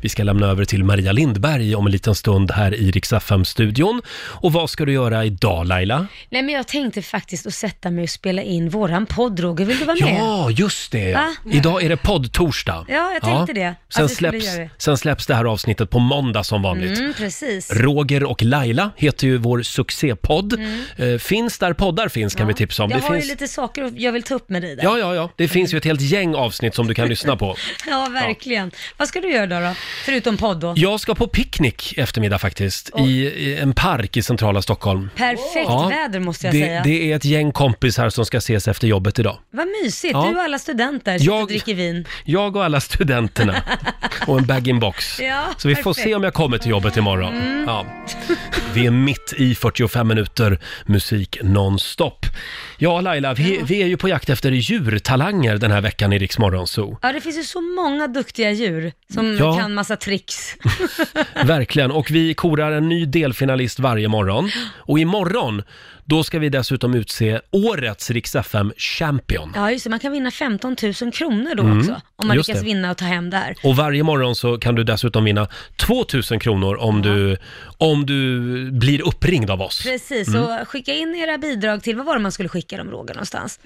A: Vi ska lämna över till Maria Lindberg om en liten stund här i Rix FM-studion. Och vad ska du göra idag Laila?
B: Nej, men jag tänkte faktiskt att sätta mig och spela in våran podd, Roger. Vill du vara med?
A: Ja, just det.
B: Va?
A: Idag är det podd-torsdag.
B: Ja, jag tänkte det. Att
A: Sen
B: vi skulle
A: släpps,
B: göra det.
A: sen släpps det här avsnittet på måndag som vanligt.
B: Mm, precis.
A: Roger och Laila heter ju vår succépodd.
B: Mm.
A: Eh, finns där poddar finns kan vi tipsa om.
B: jag
A: det
B: har
A: finns...
B: ju lite Mm. saker jag vill ta upp med dig där.
A: Ja, ja, ja. Det finns ju ett helt gäng avsnitt som du kan lyssna på.
B: Ja, verkligen. Vad ska du göra då, då? Förutom podd då?
A: Jag ska på picknick i eftermiddag faktiskt, i, i en park i centrala Stockholm.
B: Perfekt
A: Ja,
B: väder måste jag
A: det,
B: säga.
A: det är ett gäng kompisar som ska ses efter jobbet idag.
B: Vad mysigt.
A: Ja.
B: Du och alla studenter sitter
A: Jag-
B: och dricker vin.
A: Jag och alla studenterna och en bag-in-box.
B: Ja,
A: Så vi får
B: perfekt.
A: se om jag kommer till jobbet imorgon.
B: Mm.
A: Ja. Vi är mitt i 45 minuter musik nonstop. Ja, Laila, vi, vi är ju på jakt efter djurtalanger den här veckan i Rix Morgon Zoo.
B: Ja, det finns ju så många duktiga djur som
A: Ja.
B: kan massa tricks.
A: Verkligen. Och vi korar en ny delfinalist varje morgon. Och imorgon, då ska vi dessutom utse årets Rix FM Champion.
B: Ja, just det. Man kan vinna 15 000 kronor då
A: Mm,
B: också, om man
A: just
B: lyckas
A: det.
B: vinna och ta hem det här.
A: Och varje morgon så kan du dessutom vinna 2000 kronor om du, om du blir ringde av oss.
B: Precis,
A: Mm.
B: och skicka in era bidrag till, vad var det man skulle skicka dem Roger någonstans?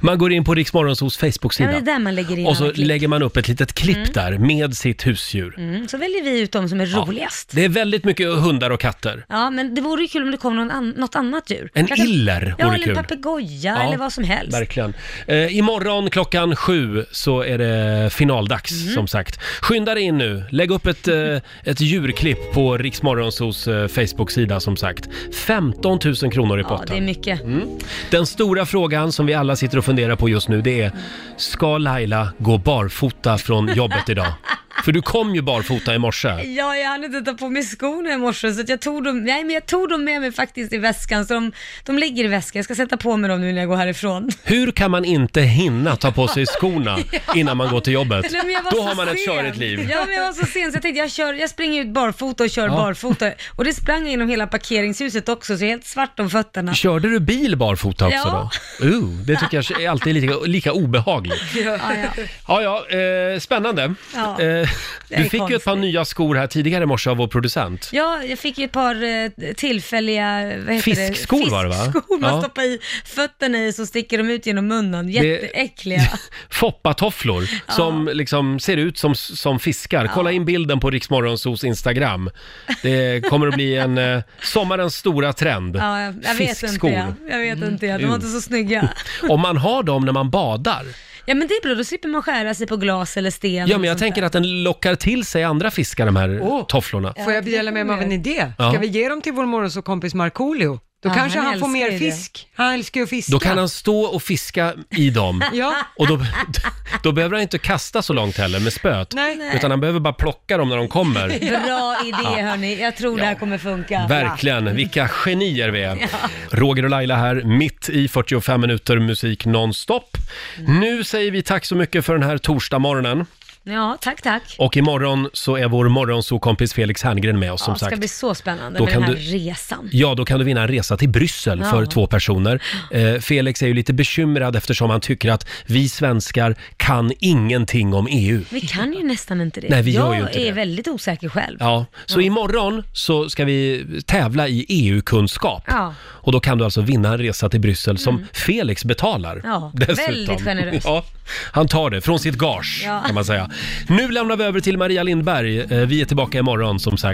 A: Man går in på Riksmorgonsos
B: Ja, det
A: Facebook-sida
B: är där man lägger in
A: och så
B: alla klipp.
A: lägger man upp ett litet klipp
B: Mm.
A: där med sitt husdjur.
B: mm, Så väljer vi ut de som är roligast.
A: Det är väldigt mycket hundar och katter.
B: Ja, men det vore ju kul om det kom någon an- något annat djur.
A: En iller
B: Ja,
A: vore
B: eller
A: kul.
B: en papegoja
A: Ja,
B: eller vad som helst.
A: Verkligen. Eh, imorgon klockan sju så är det finaldags
B: Mm.
A: som sagt. Skynda dig in nu. Lägg upp ett, eh, ett djurklipp på Riksmorgonsos eh, Facebook-sida som sagt. 15 000 kronor i
B: Ja,
A: potten.
B: det är mycket.
A: Mm. Den stora frågan som vi alla sitter och funderar på just nu det är, ska Laila gå barfota från jobbet idag? För du kom ju barfota i morse.
B: Ja, jag hann inte ta på mig skorna i morse så att jag tog dem, nej men jag tog dem med mig faktiskt i väskan så de, de ligger i väskan. Jag ska sätta på mig dem nu när jag går härifrån.
A: Hur kan man inte hinna ta på sig skorna
B: Ja.
A: innan man går till jobbet?
B: Nej, men jag var
A: Då
B: så
A: har man ett
B: sen.
A: körigt liv.
B: Ja, men jag var så sen så jag tänkte jag, kör, jag springer ut barfota och kör
A: Ja.
B: barfota. Och det sprang jag genom hela parkeringshuset också så jag är helt svart om fötterna.
A: Körde du bil barfota också
B: Ja.
A: då? Uh, det tycker jag är alltid är lika, lika obehagligt.
B: Ja, ja.
A: Ja, ja, eh, spännande.
B: Ja,
A: Eh,
B: det är
A: du fick ju ett par nya skor här tidigare i morse av vår producent.
B: Ja, jag fick ju ett par eh, tillfälliga vad heter
A: Fiskskor
B: det?
A: var det, va?
B: Fiskskor man
A: Ja.
B: stoppar i fötterna i så sticker de ut genom munnen. Jätteäckliga.
A: Foppatofflor
B: Ja.
A: som liksom ser ut som, som fiskar. Kolla in bilden på Riksmorgonsos Instagram. Det kommer att bli en eh, sommarens stora trend.
B: Ja, jag, jag vet inte
A: Fiskskor. Mm.
B: jag. Jag vet inte jag. De var inte så snygga.
A: Om man har dem när man badar.
B: Ja men det är bra, då slipper man skära sig på glas eller sten.
A: Ja, men jag tänker att den lockar till sig andra fiskar, de här
C: Åh.
A: tofflorna.
C: Får jag dela med mig av en idé? Ska
A: Ja.
C: vi ge dem till vår morgonsåkompis Markoolio? Då
B: Ja,
C: kanske
B: han
C: han, får
B: älskar
C: mer
B: ju
C: fisk. Han älskar ju att fiska.
A: Då kan han stå och fiska i dem.
C: Ja.
A: Och då, då behöver han inte kasta så långt heller med spöet.
B: Nej. Nej.
A: Utan han behöver bara plocka dem när de kommer.
B: Bra idé
A: Ja.
B: hörni, jag tror det här kommer funka.
A: Verkligen, vilka genier vi är.
B: Ja.
A: Roger och Laila här, mitt i 45 minuter musik nonstop. Nu säger vi tack så mycket för den här torsdagmorgonen.
B: Ja, tack tack.
A: Och imorgon så är vår morgonsokompis Felix Herngren med oss
B: Ja,
A: som
B: det ska
A: sagt.
B: bli så spännande
A: Då
B: med
A: kan
B: den här
A: du-
B: resan.
A: Ja, då kan du vinna en resa till Bryssel
B: Ja.
A: för två personer. Eh, Felix är ju lite bekymrad eftersom han tycker att vi svenskar kan ingenting om E EU.
B: Vi kan ju nästan inte det.
A: Nej, vi
B: jag
A: gör ju inte
B: är
A: det.
B: väldigt osäker själv.
A: Ja, så imorgon så ska vi tävla i E EU-kunskap.
B: Ja.
A: Och då kan du alltså vinna en resa till Bryssel som Felix betalar.
B: Mm. Ja,
A: dessutom.
B: väldigt generöst.
A: Ja, han tar det från sitt gage
B: Ja.
A: kan man säga. Nu lämnar vi över till Maria Lindberg. Eh, Vi är tillbaka imorgon som sagt.